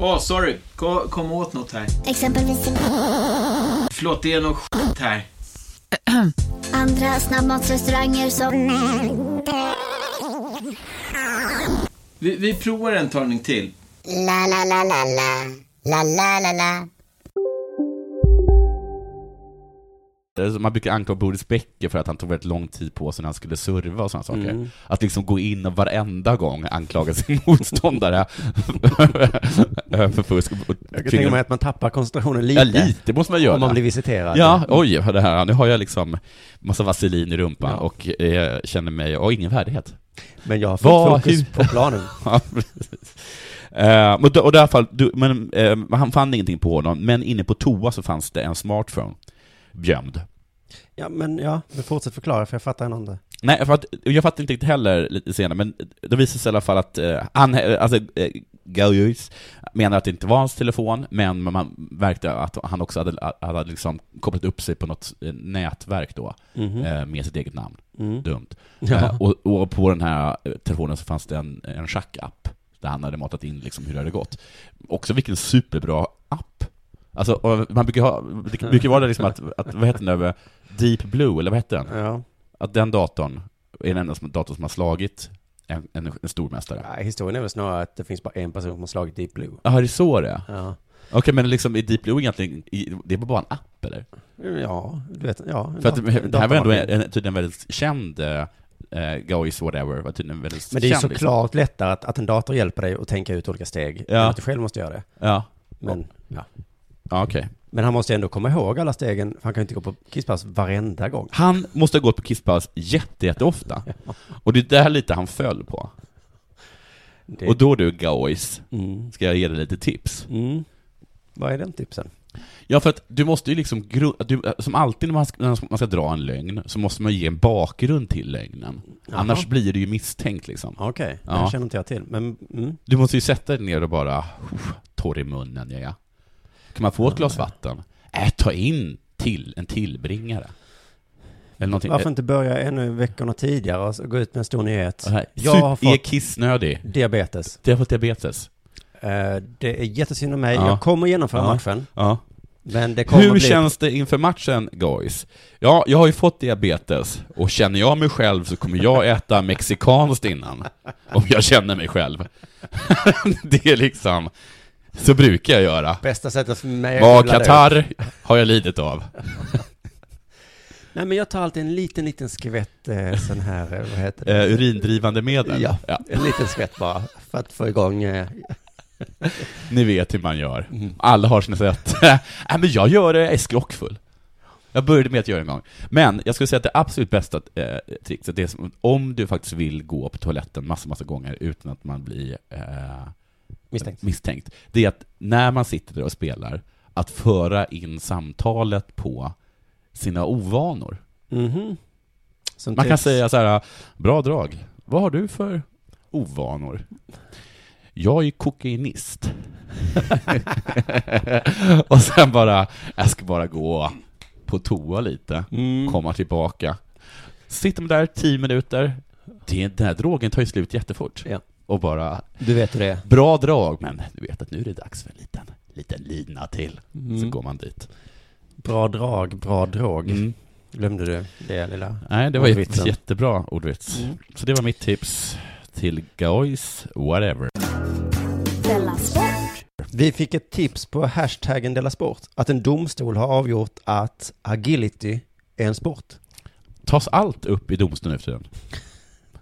[SPEAKER 6] Åh, sorry. Kom, kom åt något här.
[SPEAKER 7] Exempelvis...
[SPEAKER 6] Förlåt, det är något skit här.
[SPEAKER 7] Andra snabbmatsrestauranger som...
[SPEAKER 6] Vi, vi provar en talning till.
[SPEAKER 7] La, la, la, la, la. La, la, la, la.
[SPEAKER 5] Alltså, Man brukar anklaga Boris Becker för att han tog väldigt lång tid på sig när han skulle serva och sådana saker.
[SPEAKER 4] Mm.
[SPEAKER 5] Att liksom gå in och varenda gång anklaga sin motståndare för fusk.
[SPEAKER 4] Jag kan tänka mig att man tappar koncentrationen lite.
[SPEAKER 5] Ja, lite måste man göra.
[SPEAKER 4] Om man blir visiterad.
[SPEAKER 5] Ja, oj, det här, nu har jag liksom massa vaselin i rumpan och eh, känner mig, och ingen värdighet.
[SPEAKER 4] Men jag har fullt
[SPEAKER 5] Vad-
[SPEAKER 4] fokus
[SPEAKER 5] hur-
[SPEAKER 4] på planen.
[SPEAKER 5] ja, precis. Eh, men då- och i alla fall, du, men, eh, han fann ingenting på honom, men inne på toa så fanns det en smartphone gömd.
[SPEAKER 4] Ja, men ja, men fortsätt förklara för jag fattar ändå inte.
[SPEAKER 5] Nej, för att, jag fattar inte riktigt heller lite senare, men det visar sig i alla fall att eh, han, eh, alltså, eh, Gauss menar att det inte var hans telefon, men man verkade att han också hade, hade liksom kopplat upp sig på något eh, nätverk då,
[SPEAKER 4] Mhm.
[SPEAKER 5] eh, med sitt eget namn.
[SPEAKER 4] Mm.
[SPEAKER 5] Dumt.
[SPEAKER 4] Ja.
[SPEAKER 5] Eh, och, och på den här eh, telefonen så fanns det en, en schackapp, där han hade matat in liksom hur det hade gått. Också vilken superbra app. Alltså, och man brukar ha, det brukar vara det liksom att, att, vad heter den där, Deep Blue, eller vad heter den? Att den datorn är den enda som, datorn som har slagit en, en, en stormästare.
[SPEAKER 4] Nej, historien är väl snarare att det finns bara en person som har slagit Deep Blue.
[SPEAKER 5] Jaha, det är så det är?
[SPEAKER 4] Ja.
[SPEAKER 5] Okej, men liksom är Deep Blue egentligen, i- det är bara en app eller?
[SPEAKER 4] Ja, du vet, ja. en
[SPEAKER 5] För att
[SPEAKER 4] dat-
[SPEAKER 5] det-
[SPEAKER 4] en
[SPEAKER 5] det här var ändå
[SPEAKER 4] datamaskin.
[SPEAKER 5] en, en, tydligen väldigt känd eh, Gois whatever, var tydligen väldigt
[SPEAKER 4] Men det är ju
[SPEAKER 5] känd,
[SPEAKER 4] såklart lättare att, att en dator hjälper dig att tänka ut olika steg,
[SPEAKER 5] Ja.
[SPEAKER 4] än att du själv måste göra det.
[SPEAKER 5] Ja.
[SPEAKER 4] Men, ja.
[SPEAKER 5] Ja, okej.
[SPEAKER 4] Men han måste ändå komma ihåg alla stegen, för han kan ju inte gå på kisspass varenda gång.
[SPEAKER 5] Han måste ha gått på kisspaus jätte, jätteofta. Och det är där lite han föll på.
[SPEAKER 4] Det- Mm.
[SPEAKER 5] Och då du, Gois, ska jag ge dig lite tips.
[SPEAKER 4] Vad är den tipsen?
[SPEAKER 5] Ja, för att du måste ju liksom, gru- du, som alltid när man, ska, när man ska dra en lögn, så måste man ju ge en bakgrund till lögnen.
[SPEAKER 4] Jaha.
[SPEAKER 5] Annars blir du ju misstänkt liksom.
[SPEAKER 4] Okej, det
[SPEAKER 5] Ja.
[SPEAKER 4] känner inte jag till. Men, mm.
[SPEAKER 5] Du måste ju sätta dig ner och bara, "Uff, torr i munnen, ja, ja. Kan man få ett glas vatten? Äh, ta in till, en tillbringare. Eller någonting.
[SPEAKER 4] Varför inte börja ännu veckorna tidigare och så gå ut med en stor nyhet?
[SPEAKER 5] Äh, här.
[SPEAKER 4] Jag har
[SPEAKER 5] Sup- Är
[SPEAKER 4] fått
[SPEAKER 5] kissnödig.
[SPEAKER 4] diabetes.
[SPEAKER 5] Du har fått diabetes.
[SPEAKER 4] Eh, Det är jättesynd om mig.
[SPEAKER 5] Ja.
[SPEAKER 4] Jag kommer genomföra
[SPEAKER 5] Ja.
[SPEAKER 4] matchen.
[SPEAKER 5] Ja.
[SPEAKER 4] Men det kommer
[SPEAKER 5] Hur
[SPEAKER 4] bli...
[SPEAKER 5] känns det inför matchen, guys? Ja, jag har ju fått diabetes, och känner jag mig själv så kommer jag äta mexikanskt innan. Om jag känner mig själv. det är liksom, så brukar jag göra.
[SPEAKER 4] Bästa sättet för mig
[SPEAKER 5] Vad
[SPEAKER 4] odla det.
[SPEAKER 5] Qatar har jag lidit av.
[SPEAKER 4] Nej, men jag tar alltid en liten, liten skvätt eh, sån här, eh, vad heter det?
[SPEAKER 5] Eh, urindrivande medel.
[SPEAKER 4] Ja, en liten skvätt bara. För att få igång... eh,
[SPEAKER 5] Ni vet hur man gör. Alla har sina sätt. Nej, men jag gör det, jag är skrockfull. Jag började med att göra det en gång. Men jag skulle säga att det absolut bästa eh, trickset det är som, om du faktiskt vill gå på toaletten massa, massa gånger utan att man blir eh,
[SPEAKER 4] Misstänkt.
[SPEAKER 5] Det är att när man sitter där och spelar, att föra in samtalet på sina ovanor.
[SPEAKER 4] Mhm. Som
[SPEAKER 5] Man kan
[SPEAKER 4] tips.
[SPEAKER 5] säga så här, bra drag. Vad har du för ovanor? Jag är kokainist. och sen bara, jag ska bara gå på toa lite,
[SPEAKER 4] Mm.
[SPEAKER 5] komma tillbaka. Sitter man där tio minuter, det, den här drogen tar ju slut jättefort.
[SPEAKER 4] Ja.
[SPEAKER 5] Och bara,
[SPEAKER 4] Du vet hur det är.
[SPEAKER 5] bra drag, men du vet att nu är det dags för en liten, liten lina till. Så
[SPEAKER 4] Mm.
[SPEAKER 5] går man dit.
[SPEAKER 4] Bra drag, bra drog.
[SPEAKER 5] Mm.
[SPEAKER 4] Glömde du det lilla?
[SPEAKER 5] Nej, det var ju ett
[SPEAKER 4] Ordvitsen.
[SPEAKER 5] jättebra ordvits. Så det var mitt tips till guys whatever.
[SPEAKER 3] Della Sport.
[SPEAKER 4] Vi fick ett tips på hashtaggen Della Sport. Att en domstol har avgjort att agility är en sport.
[SPEAKER 5] Tas allt upp i domstolen nu för tiden?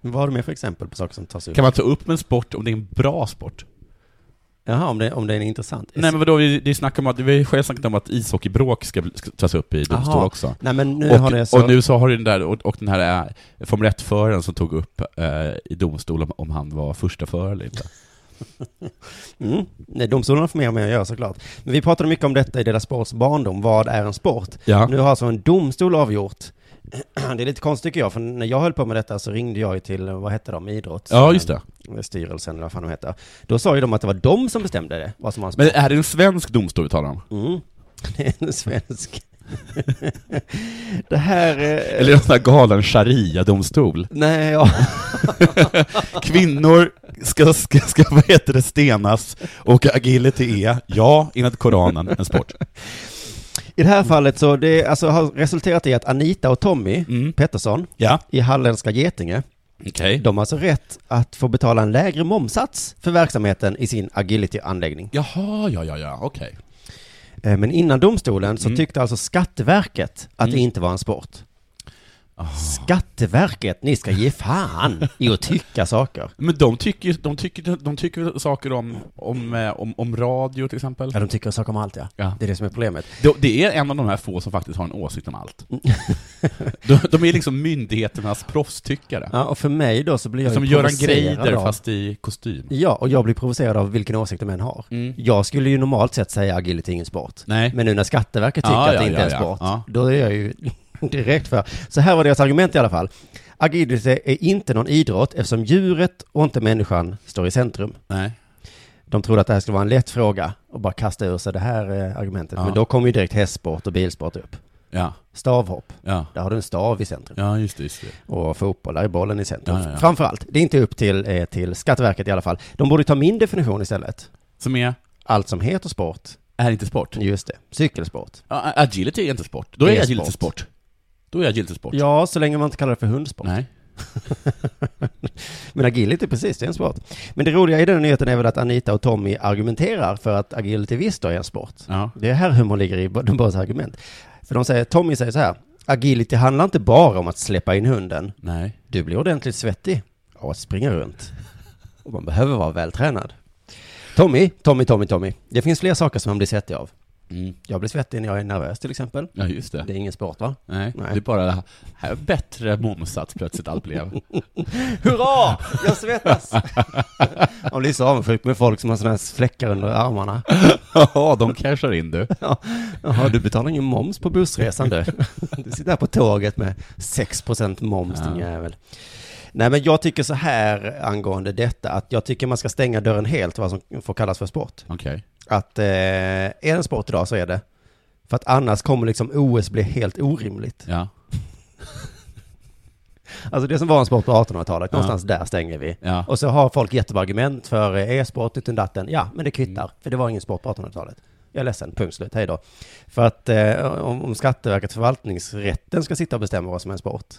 [SPEAKER 4] Vad har du mer för exempel på saker som tas upp?
[SPEAKER 5] Kan man ta upp en sport om det är en bra sport?
[SPEAKER 4] Jaha, om det, om det är intressant.
[SPEAKER 5] Nej men vadå, vi, det snackar om att, vi har ju snackat om att ishockeybråk ska, bli- ska tas upp i domstol
[SPEAKER 4] Jaha.
[SPEAKER 5] också.
[SPEAKER 4] Nej, men nu
[SPEAKER 5] och,
[SPEAKER 4] har det så-
[SPEAKER 5] och nu så har du den där, och, och den här eh, Formel 1-föraren som tog upp eh, i domstol om, om han var första förare eller inte.
[SPEAKER 4] Mm. Nej, domstolarna får mer och mer att göra såklart. Men vi pratade mycket om detta i deras sports barndom. Vad är en sport?
[SPEAKER 5] Ja.
[SPEAKER 4] Nu har alltså en domstol avgjort. Det är lite konstigt tycker jag, för när jag höll på med detta så ringde jag ju till, vad hette de, idrotts...
[SPEAKER 5] Ja, just det.
[SPEAKER 4] Styrelsen eller vad fan de heter. Då sa ju de att det var de som bestämde det, vad som var en sport.
[SPEAKER 5] Men är det en svensk domstol vi talar om?
[SPEAKER 4] Mm. Det är en svensk. det här... eh,
[SPEAKER 5] Eller en sån här galen sharia-domstol?
[SPEAKER 4] Nej, ja.
[SPEAKER 5] Kvinnor ska, ska, ska, vad heter det, stenas och agility är, ja, enligt Koranen, en sport.
[SPEAKER 4] I det här fallet så det alltså har resulterat i att Anita och Tommy
[SPEAKER 5] Mm.
[SPEAKER 4] Pettersson i Halländska Getinge, de har alltså rätt att få betala en lägre momsats för verksamheten i sin agility-anläggning.
[SPEAKER 5] Jaha, ja, ja, ja, okej.
[SPEAKER 4] Eh, Men innan domstolen
[SPEAKER 5] Mm.
[SPEAKER 4] så tyckte alltså Skatteverket att det inte var en sport. Ah. Skatteverket, ni ska ge fan i att tycka saker.
[SPEAKER 5] Men de tycker ju- de tycker, de tycker väl saker om, om, eh, om, om radio till exempel?
[SPEAKER 4] Ja, de tycker saker om allt ja. Det är det som är problemet.
[SPEAKER 5] De- Det är en av de här få som faktiskt har en åsikt om allt.
[SPEAKER 4] Mm.
[SPEAKER 5] De, de är liksom myndigheternas proffstyckare.
[SPEAKER 4] Ja, och för mig då så blir jag
[SPEAKER 5] Som
[SPEAKER 4] ju
[SPEAKER 5] Göran
[SPEAKER 4] provocerad
[SPEAKER 5] Greider,
[SPEAKER 4] av-
[SPEAKER 5] fast i kostym.
[SPEAKER 4] Ja, och jag blir provocerad av vilken åsikt de än har.
[SPEAKER 5] Mm.
[SPEAKER 4] Jag skulle ju normalt sett säga agility är ingen sport.
[SPEAKER 5] Nej.
[SPEAKER 4] Men nu när Skatteverket tycker
[SPEAKER 5] Ja,
[SPEAKER 4] att
[SPEAKER 5] ja,
[SPEAKER 4] det inte
[SPEAKER 5] ja,
[SPEAKER 4] är en
[SPEAKER 5] ja.
[SPEAKER 4] sport,
[SPEAKER 5] Ja.
[SPEAKER 4] då är jag ju direkt för. Så här var deras argument i alla fall. Agility är inte någon idrott eftersom djuret och inte människan står i centrum.
[SPEAKER 5] Nej.
[SPEAKER 4] De trodde att det här skulle vara en lätt fråga och bara kasta ur sig det här eh, argumentet.
[SPEAKER 5] Ja.
[SPEAKER 4] Men då kom ju direkt hästsport och bilsport upp.
[SPEAKER 5] Ja.
[SPEAKER 4] Stavhopp.
[SPEAKER 5] Ja.
[SPEAKER 4] Där har du en stav i centrum.
[SPEAKER 5] Ja, just det, just det.
[SPEAKER 4] Och fotboll, där är bollen i centrum.
[SPEAKER 5] Ja, ja, ja.
[SPEAKER 4] Framförallt, det är inte upp till, eh, till Skatteverket i alla fall. De borde ta min definition istället.
[SPEAKER 5] Som är?
[SPEAKER 4] Allt som heter sport.
[SPEAKER 5] Är inte sport?
[SPEAKER 4] Just det. Cykelsport.
[SPEAKER 5] Ja, Agility är inte sport. Då är,
[SPEAKER 4] Det är
[SPEAKER 5] agility
[SPEAKER 4] sport.
[SPEAKER 5] sport. Då är agility sport.
[SPEAKER 4] Ja, så länge man inte kallar det för hundsport.
[SPEAKER 5] Nej.
[SPEAKER 4] Men agility, precis, det är en sport. Men det roliga i den här nyheten är väl att Anita och Tommy argumenterar för att agility visst då är en sport. Det är här humor ligger i de båda argument. För de säger, Tommy säger så här, agility handlar inte bara om att släppa in hunden.
[SPEAKER 5] Nej.
[SPEAKER 4] Du blir ordentligt svettig av att springa runt. Och man behöver vara vältränad. Tommy, Tommy, Tommy, Tommy. Det finns fler saker som man blir svettig av. Mm. Jag blir svettig när jag är nervös till exempel.
[SPEAKER 5] Ja, just det.
[SPEAKER 4] Det är ingen sport va?
[SPEAKER 5] Nej, det är bara här, bättre momsats plötsligt allt blev.
[SPEAKER 4] Hurra! Jag svettas! Man blir så avundsjuk med folk som har sådana här fläckar under armarna.
[SPEAKER 5] Ja, de cashar in du.
[SPEAKER 4] Ja, Jaha, du betalar ingen moms på bussresan du. Du sitter här på tåget med 6% moms din
[SPEAKER 5] Ja.
[SPEAKER 4] jävel. Nej men jag tycker så här angående detta, att jag tycker man ska stänga dörren helt vad som får kallas för sport.
[SPEAKER 5] Okej.
[SPEAKER 4] Att eh, är det en sport idag så är det. För att annars kommer liksom OS bli helt orimligt.
[SPEAKER 5] Ja.
[SPEAKER 4] Alltså det som var en sport på 1800-talet,
[SPEAKER 5] Ja.
[SPEAKER 4] någonstans där stänger vi.
[SPEAKER 5] Ja.
[SPEAKER 4] Och så har folk jättebra argument för eh, e-sport utan datten. Ja, men det kvittar, för det var ingen sport på 1800-talet. Jag är ledsen, punkt slut, hej då. För att eh, om, om Skatteverket förvaltningsrätten ska sitta och bestämma vad som är en sport,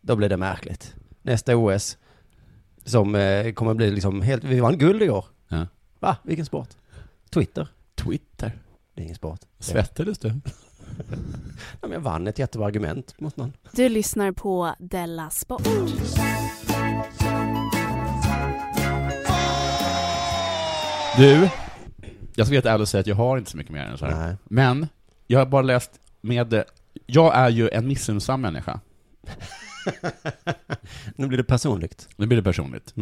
[SPEAKER 4] då blir det märkligt. Nästa OS, som eh, kommer bli liksom helt, vi vann guld igår.
[SPEAKER 5] Ja.
[SPEAKER 4] Va, vilken sport? Twitter.
[SPEAKER 5] Twitter?
[SPEAKER 4] Det är ingen sport.
[SPEAKER 5] Svettades du?
[SPEAKER 4] Ja, men jag vann ett jättebra argument mot någon.
[SPEAKER 8] Du lyssnar på Della Sport.
[SPEAKER 5] Du, jag ska vara ärlig och säga att jag har inte så mycket mer än så här. Men, jag har bara läst med... Jag är ju en missunnsam människa.
[SPEAKER 4] Nu blir det personligt.
[SPEAKER 5] Nu blir det personligt.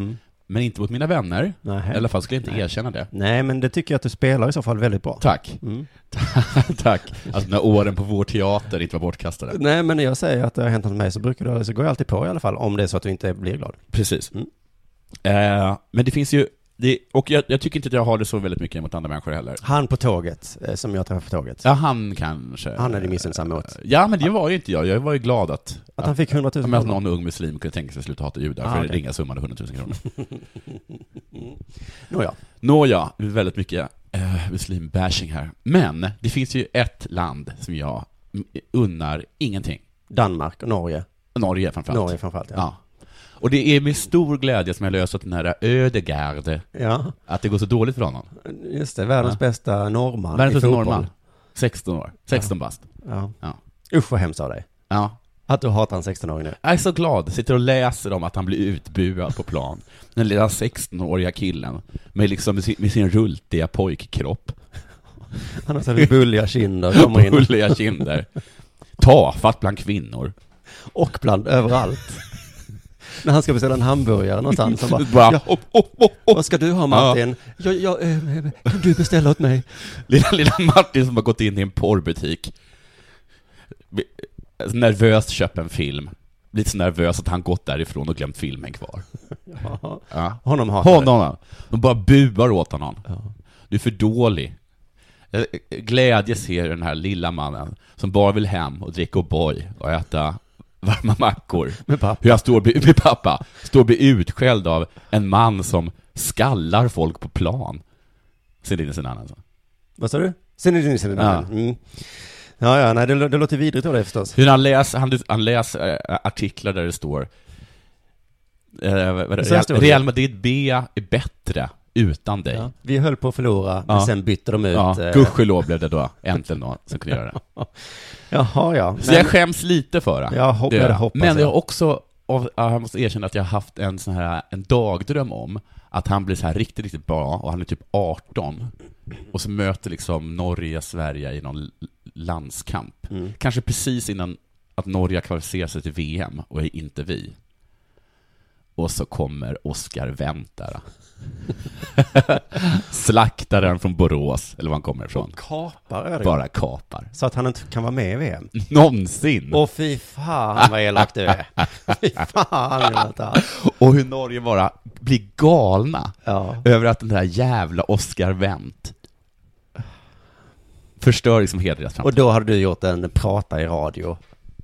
[SPEAKER 5] Men inte mot mina vänner.
[SPEAKER 4] Nähä.
[SPEAKER 5] I alla fall skulle jag inte
[SPEAKER 4] Nej.
[SPEAKER 5] erkänna det.
[SPEAKER 4] Nej, men det tycker jag att du spelar i så fall väldigt bra.
[SPEAKER 5] Tack.
[SPEAKER 4] Mm.
[SPEAKER 5] Tack. Alltså när åren på vår teater inte var bortkastade.
[SPEAKER 4] Nej, men när jag säger att det har hänt något med mig så brukar du, så går jag alltid på i alla fall, om det är så att du inte blir glad.
[SPEAKER 5] Precis.
[SPEAKER 4] Mm.
[SPEAKER 5] Eh, men det finns ju, det, och jag, jag tycker inte att jag har det så väldigt mycket mot andra människor heller.
[SPEAKER 4] Han på tåget, eh, som jag träffade på tåget.
[SPEAKER 5] Ja, han kanske.
[SPEAKER 4] Han är det missunnsam mot.
[SPEAKER 5] Ja, men det var ju inte jag. Jag var ju glad att...
[SPEAKER 4] Att han fick 100 000
[SPEAKER 5] men Att
[SPEAKER 4] kronor.
[SPEAKER 5] någon ung muslim kunde tänka sig att sluta hata judar
[SPEAKER 4] Ah,
[SPEAKER 5] för
[SPEAKER 4] okej.
[SPEAKER 5] den ringa summan av 100 000 kronor.
[SPEAKER 4] Nåja.
[SPEAKER 5] Nåja, väldigt mycket eh, muslimbashing här. Men det finns ju ett land som jag mm, unnar ingenting.
[SPEAKER 4] Danmark och Norge.
[SPEAKER 5] Norge framförallt.
[SPEAKER 4] Norge framförallt, ja.
[SPEAKER 5] Och det är med stor glädje som jag löst att den här Ödegaard,
[SPEAKER 4] Ja.
[SPEAKER 5] att det går så dåligt för honom.
[SPEAKER 4] Just det, världens
[SPEAKER 5] Ja.
[SPEAKER 4] bästa norrman
[SPEAKER 5] Världens
[SPEAKER 4] i
[SPEAKER 5] bästa
[SPEAKER 4] fotboll.
[SPEAKER 5] norrman. 16 år. 16 bast.
[SPEAKER 4] Ja.
[SPEAKER 5] Ja.
[SPEAKER 4] Usch vad hemskt av dig.
[SPEAKER 5] Ja.
[SPEAKER 4] Att du hatar en 16-åring nu?
[SPEAKER 5] Jag är så glad, sitter och läser om att han blir utbuad på plan. Den lilla 16-åriga killen, med, liksom, med sin- med sin rultiga pojkkropp.
[SPEAKER 4] Han har så här bulliga kinder, kommer in.
[SPEAKER 5] Bulliga kinder. Tafatt bland kvinnor.
[SPEAKER 4] Och bland överallt. När han ska beställa en hamburgare någonstans, han bara,
[SPEAKER 5] Bara,
[SPEAKER 4] ja, Vad ska du ha Martin? Ja. Jag, eh, kan du beställa åt mig?
[SPEAKER 5] Lilla, lilla Martin som har gått in i en porrbutik. alltså, Nervöst köpt en film. Lite så nervös att han gått därifrån och glömt filmen kvar.
[SPEAKER 4] Ja.
[SPEAKER 5] Ja.
[SPEAKER 4] Honom hatar du.
[SPEAKER 5] Honom. De bara buar åt honom. Du är för dålig. Eh, Glädje ser den här lilla mannen som bara vill hem och dricka O'boy och äta varma mackor.
[SPEAKER 4] Med pappa.
[SPEAKER 5] Hur han står och blir- med pappa. Står och blir utskälld av en man som skallar folk på plan. Ser in i sin annan.
[SPEAKER 4] Vad sa du? Sen är det ni sen ja. Mm. ja, ja, nej, det, lå- det låter vidrigt av dig förstås.
[SPEAKER 5] Hur han läser, han, han läser eh, artiklar där det står eh, vad är det?
[SPEAKER 4] Så här står
[SPEAKER 5] Real,
[SPEAKER 4] det.
[SPEAKER 5] Real Madrid B är bättre utan dig.
[SPEAKER 4] Ja. Vi höll på att förlora,
[SPEAKER 5] Ja.
[SPEAKER 4] men sen bytte de ut.
[SPEAKER 5] Ja,
[SPEAKER 4] eh,
[SPEAKER 5] gudskelov blev det då äntligen någon som kunde göra det.
[SPEAKER 4] Jaha, ja.
[SPEAKER 5] Så jag skäms lite för det.
[SPEAKER 4] Jag hopp-
[SPEAKER 5] Det gör
[SPEAKER 4] jag hoppas
[SPEAKER 5] Men
[SPEAKER 4] det.
[SPEAKER 5] jag har också, av- jag måste erkänna att jag har haft en sån här, en dagdröm om att han blir så här riktigt, riktigt bra och han är typ 18 och så möter liksom Norge Sverige i någon l- landskamp.
[SPEAKER 4] Mm.
[SPEAKER 5] Kanske precis innan att Norge kvalificerar sig till VM och är inte vi. Och så kommer Oscar Väntara. Slaktaren från Borås, eller var han kommer ifrån.
[SPEAKER 4] Kapar Ödegård.
[SPEAKER 5] Bara Mm. kapar.
[SPEAKER 4] Så att han inte kan vara med i VM.
[SPEAKER 5] Någonsin.
[SPEAKER 4] Åh fy fan vad elak du är. fy fan Jonathan.
[SPEAKER 5] Och hur Norge bara blir galna
[SPEAKER 4] Ja.
[SPEAKER 5] över att den där jävla Oscar Wendt förstör liksom hela deras
[SPEAKER 4] Och
[SPEAKER 5] framtid.
[SPEAKER 4] då hade du gjort en prata i radio.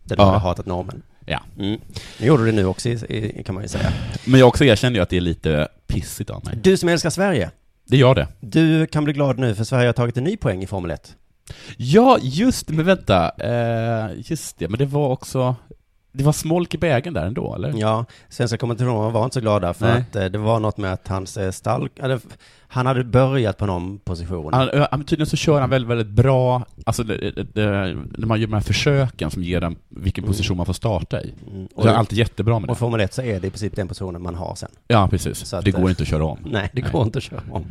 [SPEAKER 4] Där du
[SPEAKER 5] Ja.
[SPEAKER 4] hade hatat normen.
[SPEAKER 5] Ja.
[SPEAKER 4] Mm. Nu gjorde du det nu också, i- i- kan man ju säga.
[SPEAKER 5] Men jag också erkänner ju att det är lite pissigt av mig.
[SPEAKER 4] Du som älskar Sverige.
[SPEAKER 5] Det gör det.
[SPEAKER 4] Du kan bli glad nu för Sverige har tagit en ny poäng i Formel 1.
[SPEAKER 5] Ja, just det, men vänta. Eh, just det, men det var också... Det var smolk i bägaren där ändå, eller?
[SPEAKER 4] Ja, svenska kommentatorerna var inte så glada för
[SPEAKER 5] Nej.
[SPEAKER 4] att eh, det var något med att hans eh, stall, eller, f- han hade börjat på någon position.
[SPEAKER 5] Han, ö, han- tydligen så kör han väldigt, väldigt bra, alltså det, det, det, när man gör de här försöken som ger den vilken position man får starta i.
[SPEAKER 4] Mm.
[SPEAKER 5] Och det är alltid jättebra med
[SPEAKER 4] Och i
[SPEAKER 5] det. Mm.
[SPEAKER 4] Formel 1 så är det i princip den positionen man har sen.
[SPEAKER 5] Ja, precis.
[SPEAKER 4] Så att,
[SPEAKER 5] det går
[SPEAKER 4] eh,
[SPEAKER 5] inte att mm. köra om.
[SPEAKER 4] Nej, det går inte att köra om.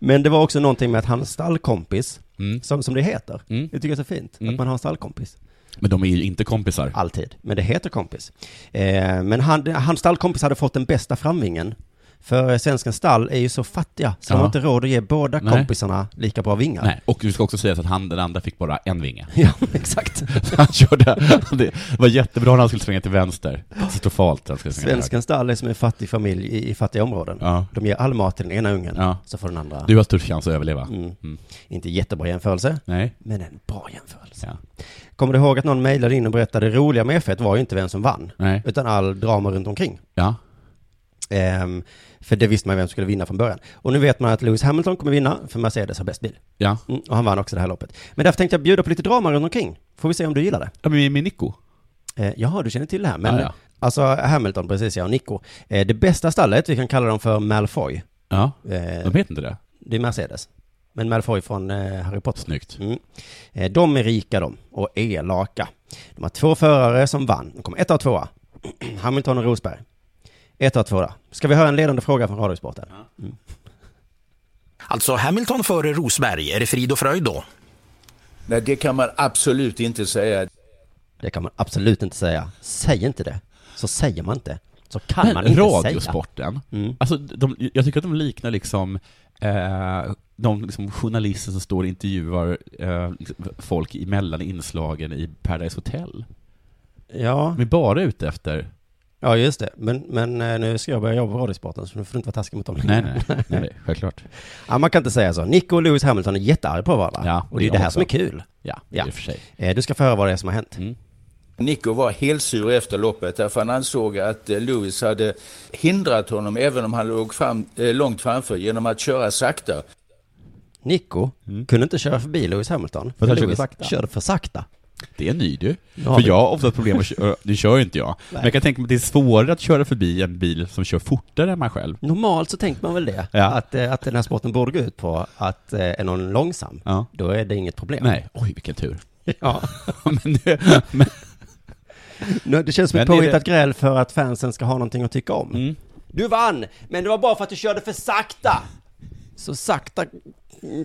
[SPEAKER 4] Men det var också någonting med att hans stallkompis,
[SPEAKER 5] Mm.
[SPEAKER 4] som, som det heter,
[SPEAKER 5] Mm.
[SPEAKER 4] jag tycker det är så fint,
[SPEAKER 5] Mm.
[SPEAKER 4] att man har en stallkompis.
[SPEAKER 5] Men de är ju inte kompisar.
[SPEAKER 4] Alltid. Men det heter kompis. Eh, men han, hans stallkompis hade fått den bästa framvingen. För svenska stall är ju så fattiga, så de
[SPEAKER 5] Ja.
[SPEAKER 4] har inte råd att ge båda
[SPEAKER 5] Nej.
[SPEAKER 4] kompisarna lika bra vingar.
[SPEAKER 5] Nej, och du ska också säga att han, den andra fick bara en vinge.
[SPEAKER 4] Ja, exakt.
[SPEAKER 5] Han körde, det var jättebra när han skulle svänga till vänster. Katastrofalt när han skulle svänga till höger.
[SPEAKER 4] Svenska stall är som en fattig familj i, i fattiga områden.
[SPEAKER 5] Ja.
[SPEAKER 4] De ger all mat till den ena ungen,
[SPEAKER 5] Ja.
[SPEAKER 4] så får den andra...
[SPEAKER 5] Du har stor chans att överleva.
[SPEAKER 4] Mm.
[SPEAKER 5] Mm.
[SPEAKER 4] Inte jättebra jämförelse,
[SPEAKER 5] Nej.
[SPEAKER 4] men en bra jämförelse.
[SPEAKER 5] Ja.
[SPEAKER 4] Kommer du ihåg att någon mejlade in och berättade det roliga med F1 var ju inte vem som vann,
[SPEAKER 5] Nej.
[SPEAKER 4] utan all drama runt omkring.
[SPEAKER 5] Ja.
[SPEAKER 4] Ehm, för det visste man ju vem som skulle vinna från början. Och nu vet man att Lewis Hamilton kommer vinna, för Mercedes har bäst bil.
[SPEAKER 5] Ja.
[SPEAKER 4] Mm, och han vann också det här loppet. Men därför tänkte jag bjuda på lite drama runt omkring. Får vi se om du gillar det?
[SPEAKER 5] ja men med Nico.
[SPEAKER 4] Eh, jaha, du känner till det här. Men
[SPEAKER 5] Ja, ja.
[SPEAKER 4] alltså Hamilton, precis ja, och Nico. Eh, det bästa stallet, vi kan kalla dem för Malfoy.
[SPEAKER 5] Ja.
[SPEAKER 4] Eh,
[SPEAKER 5] De heter inte det.
[SPEAKER 4] det är Mercedes. Men Malfoy från eh, Harry Potter.
[SPEAKER 5] Snyggt.
[SPEAKER 4] Mm. Eh, de är rika de, och elaka. De har två förare som vann. De kom ett och tvåa. Hamilton och Rosberg. Ett och tvåa. Ska vi höra en ledande fråga från Radiosporten?
[SPEAKER 9] Alltså Hamilton före Rosberg, är det frid och fröjd då?
[SPEAKER 10] Nej, det kan man absolut inte säga.
[SPEAKER 4] Det kan man absolut inte säga. Säg inte det. Så säger man inte. Så kan man
[SPEAKER 5] Men
[SPEAKER 4] inte
[SPEAKER 5] radiosporten,
[SPEAKER 4] säga. Mm.
[SPEAKER 5] alltså de, jag tycker att de liknar liksom eh, de liksom journalister som står och intervjuar eh, liksom folk i- mellan inslagen i Paradise Hotel.
[SPEAKER 4] Ja,
[SPEAKER 5] De är bara ute efter...
[SPEAKER 4] ja just det. Men, men eh, nu ska jag börja jobba på Radiosporten, så nu får du inte vara taskig mot dem längre.
[SPEAKER 5] Nej, nej, nej, nej självklart.
[SPEAKER 4] Ja, man kan inte säga så. Nico och Lewis Hamilton är jättearga på varandra.
[SPEAKER 5] Ja,
[SPEAKER 4] och det är
[SPEAKER 5] jag
[SPEAKER 4] det här
[SPEAKER 5] också.
[SPEAKER 4] som är kul.
[SPEAKER 5] Ja,
[SPEAKER 4] Ja.
[SPEAKER 5] i och för sig.
[SPEAKER 4] Eh, Du ska få höra vad det är som har hänt.
[SPEAKER 10] Nico var helt sur efter loppet därför han ansåg att eh, Lewis hade hindrat honom även om han låg fram, eh, långt framför genom att köra sakta.
[SPEAKER 4] Nico kunde inte köra förbi Lewis Hamilton. För
[SPEAKER 5] han körde
[SPEAKER 4] Lewis
[SPEAKER 5] sakta.
[SPEAKER 4] körde för sakta.
[SPEAKER 5] Det är ny du.
[SPEAKER 4] Ja,
[SPEAKER 5] för
[SPEAKER 4] det-
[SPEAKER 5] jag har ofta ett problem att köra, det kör ju inte jag. Men jag kan tänka mig att det är svårare att köra förbi en bil som kör fortare än man själv.
[SPEAKER 4] Normalt så tänker man väl det,
[SPEAKER 5] Ja.
[SPEAKER 4] att, eh, att den här sporten borde gå ut på att eh, är någon långsam,
[SPEAKER 5] Ja.
[SPEAKER 4] då är det inget problem.
[SPEAKER 5] Nej, oj vilken tur.
[SPEAKER 4] Ja.
[SPEAKER 5] men, det- men,
[SPEAKER 4] Nu, Det känns som ett
[SPEAKER 11] Men är det-
[SPEAKER 4] påhittat gräl för att fansen ska ha någonting att tycka om.
[SPEAKER 11] Du vann, men det var bara för att du körde för sakta.
[SPEAKER 4] Så sakta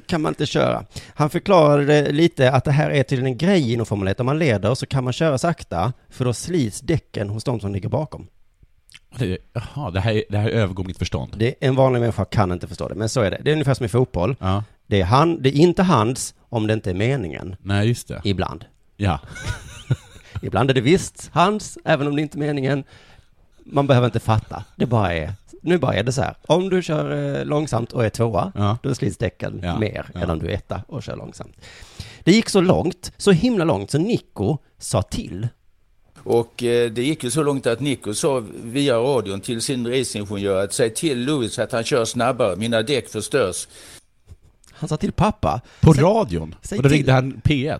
[SPEAKER 4] kan man inte köra. Han förklarade det lite att det här är tydligen en grej inom Formel 1. Om man leder så kan man köra sakta, för då slits däcken hos de som ligger bakom.
[SPEAKER 5] Det- Jaha, det här, är- det här övergår mitt förstånd.
[SPEAKER 4] Det, en vanlig människa kan inte förstå det, men så är det. Det är ungefär som i fotboll. Det, är han, det är inte hans om det inte är meningen.
[SPEAKER 5] Nej, just det.
[SPEAKER 4] Ibland.
[SPEAKER 5] Ja.
[SPEAKER 4] Ibland är det visst hans, även om det inte är meningen. Man behöver inte fatta. Det bara är, nu bara är det så här. Om du kör eh, långsamt och är tvåa, då slits däcken
[SPEAKER 11] Ja.
[SPEAKER 4] mer
[SPEAKER 11] Ja.
[SPEAKER 4] än om du är etta och kör långsamt. Det gick så långt, så himla långt, så Nico sa till.
[SPEAKER 10] Och eh, det gick ju så långt att Nico sa via radion till sin racingingenjör att säg till Lewis att han kör snabbare, mina däck förstörs.
[SPEAKER 4] Han sa till pappa.
[SPEAKER 5] På radion?
[SPEAKER 4] säg
[SPEAKER 5] Och då
[SPEAKER 4] till.
[SPEAKER 5] ringde han P1?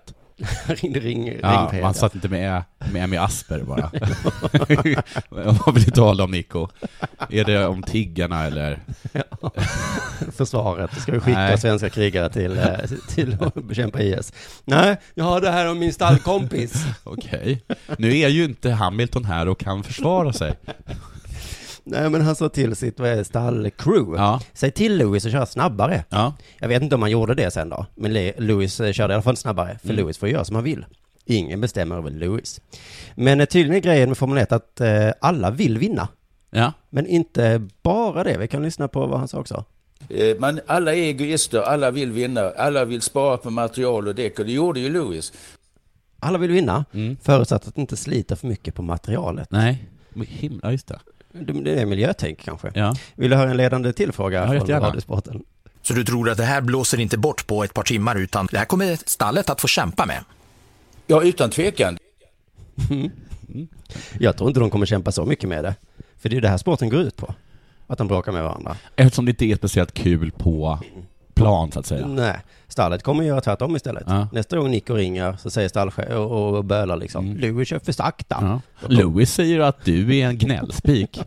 [SPEAKER 4] Han ringde ring,
[SPEAKER 5] Ja,
[SPEAKER 4] ring P1,
[SPEAKER 5] man satt inte med, med Emmy Asper bara. Vad vill du tala om Nico? Är det om tiggarna eller?
[SPEAKER 4] försvaret. Ska vi skicka
[SPEAKER 5] Nej.
[SPEAKER 4] svenska krigare till, eh, till att bekämpa IS? Nej, jag har det här om min stallkompis.
[SPEAKER 5] Okej. Nu är ju inte Hamilton här och kan försvara sig.
[SPEAKER 4] Nej, men han sa till sitt vad är det, stallcrew. Säg till Lewis att köra snabbare. Jag vet inte om han gjorde det sen då, men Le- Lewis eh, körde i alla fall snabbare, för
[SPEAKER 11] Mm.
[SPEAKER 4] Lewis får göra som han vill. Ingen bestämmer över Lewis. Men eh, tydligen är grejen med Formel 1 att eh, alla vill vinna.
[SPEAKER 5] Ja.
[SPEAKER 4] Men inte bara det, vi kan lyssna på vad han sa också.
[SPEAKER 10] Eh, Man, alla är egoister, alla vill vinna, alla vill spara på material och däck och det gjorde ju Lewis.
[SPEAKER 4] Alla vill vinna, förutsatt att det inte sliter för mycket på materialet.
[SPEAKER 5] Nej, himla, just det.
[SPEAKER 4] Det är miljötänk kanske.
[SPEAKER 5] Ja.
[SPEAKER 4] Vill du höra en ledande till fråga från
[SPEAKER 9] jättegärna.
[SPEAKER 4] Radiosporten?
[SPEAKER 9] Så du tror att det här blåser inte bort på ett par timmar utan det här kommer stallet att få kämpa med?
[SPEAKER 10] Ja, utan tvekan.
[SPEAKER 4] Mm. Jag tror inte de kommer kämpa så mycket med det. För det är ju det här sporten går ut på. Att de bråkar med varandra.
[SPEAKER 5] Eftersom det inte är speciellt kul på plan så att säga.
[SPEAKER 4] Nej, stallet kommer göra tvärtom istället. Nästa gång Nico ringer så säger stallchefen och, och bölar liksom,
[SPEAKER 5] Mm.
[SPEAKER 4] Louis kör för sakta.
[SPEAKER 5] Louis säger att du är en gnällspik.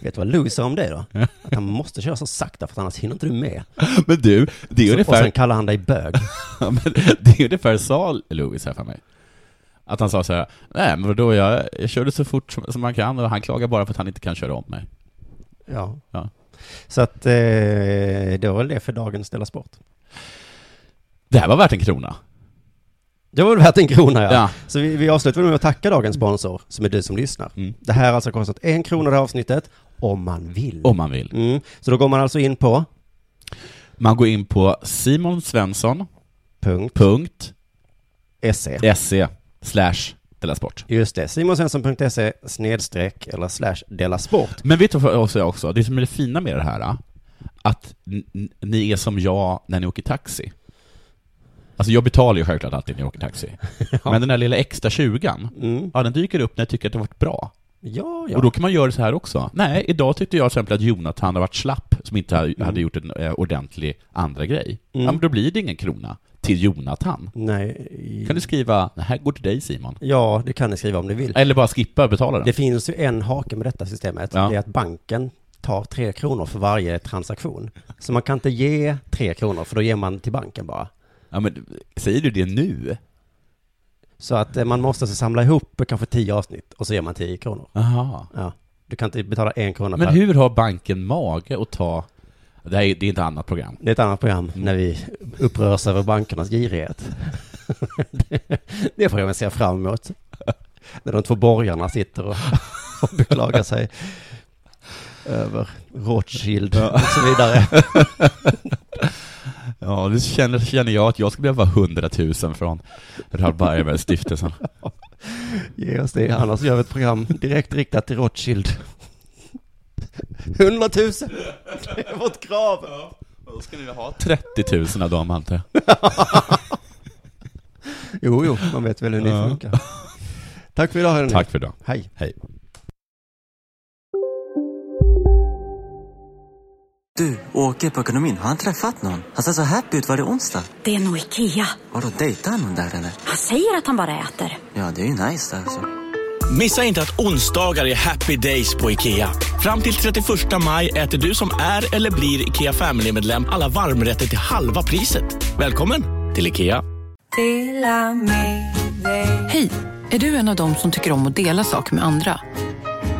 [SPEAKER 4] Vet du vad Louis sa om dig då? Att han måste köra så sakta för att annars hinner inte du med.
[SPEAKER 5] Men du, det är
[SPEAKER 4] så,
[SPEAKER 5] ungefär...
[SPEAKER 4] Och sen kallar han dig bög.
[SPEAKER 5] Ja, men det är ungefär sa Lewis här för mig. Att han sa så här, nej men då jag, jag körde så fort som, som man kan och han klagar bara för att han inte kan köra om mig.
[SPEAKER 4] Ja.
[SPEAKER 5] Ja.
[SPEAKER 4] Så att eh, det var väl det för dagens Ställa Sport.
[SPEAKER 5] Det här var värt en krona.
[SPEAKER 4] Det var väl värt en krona ja.
[SPEAKER 5] Ja.
[SPEAKER 4] Så vi, vi avslutar med att tacka dagens sponsor, som är du som lyssnar.
[SPEAKER 5] Mm.
[SPEAKER 4] Det här har alltså kostat en krona det här avsnittet, om man vill.
[SPEAKER 5] Om man vill.
[SPEAKER 4] Mm. Så då går man alltså in på?
[SPEAKER 5] Man går in på simonsvensson.
[SPEAKER 4] Punkt.
[SPEAKER 5] Punkt.
[SPEAKER 4] SE.
[SPEAKER 5] SE. Slash. Della Sport.
[SPEAKER 4] Just det, simonsvensson.se E snedstreck eller slash dela sport.
[SPEAKER 5] Men vet du vad jag säger också? Det som är det fina med det här, ah, att n- n- ni är som jag när ni åker taxi. Alltså jag betalar ju självklart alltid när jag åker taxi. Men den här lilla extra tjugan, ja den dyker upp när jag tycker att det har varit bra.
[SPEAKER 4] Ja, Mm. ja.
[SPEAKER 5] Och då kan man göra så här också. Nej, idag tyckte jag till exempel att Jonathan har varit slapp, som inte ha- hade gjort en eh, ordentlig andra grej.
[SPEAKER 4] Mm.
[SPEAKER 5] Ja, men då blir det ingen krona till Jonathan.
[SPEAKER 4] Nej.
[SPEAKER 5] Kan du skriva, det här går till dig Simon.
[SPEAKER 4] Ja, det kan ni skriva om ni vill.
[SPEAKER 5] Eller bara skippa och betala den.
[SPEAKER 4] Det finns ju en hake med detta systemet.
[SPEAKER 5] Ja.
[SPEAKER 4] Det är att banken tar tre kronor för varje transaktion. Så man kan inte ge tre kronor, för då ger man till banken bara.
[SPEAKER 5] Ja, men säger du det nu?
[SPEAKER 4] Så att eh, man måste alltså samla ihop kanske tio avsnitt och så ger man tio kronor.
[SPEAKER 5] Aha.
[SPEAKER 4] Ja. Du kan inte betala en krona
[SPEAKER 5] Men
[SPEAKER 4] per.
[SPEAKER 5] hur har banken mage att ta... Det, här är, det är ett annat program.
[SPEAKER 4] Det är ett annat program
[SPEAKER 5] Mm.
[SPEAKER 4] när vi upprörs över bankernas girighet. det, det programmet ser jag fram emot. När de två borgarna sitter och, och beklagar sig över Rothschild och så vidare.
[SPEAKER 5] Ja, det känner, känner jag att jag skulle behöva 100 000 från Rabarberstiftelsen.
[SPEAKER 4] Ge oss det, annars gör vi ett program direkt riktat till Rothschild. 100 000! Det är vårt krav!
[SPEAKER 5] Då ska ni ha 30 000 av dem, antar jag.
[SPEAKER 4] Jo, jo, man vet väl hur ni
[SPEAKER 5] Ja.
[SPEAKER 4] funkar. Tack för idag hörni.
[SPEAKER 5] Tack för idag.
[SPEAKER 4] Hej.
[SPEAKER 5] Hej.
[SPEAKER 12] Du, åker på ekonomin, har han träffat någon? Han ser så happy ut. Var det onsdag?
[SPEAKER 13] Det är nog Ikea.
[SPEAKER 12] Har du dejtar han någon där eller?
[SPEAKER 13] Han säger att han bara äter.
[SPEAKER 12] Ja, det är ju nice alltså.
[SPEAKER 14] Missa inte att onsdagar är happy days på IKEA. Fram till 31 maj äter du som är eller blir IKEA Family-medlem alla varmrätter till halva priset. Välkommen till IKEA.
[SPEAKER 15] Hej!
[SPEAKER 13] Är du en av dem som tycker om att dela saker med andra?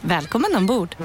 [SPEAKER 15] Välkommen ombord!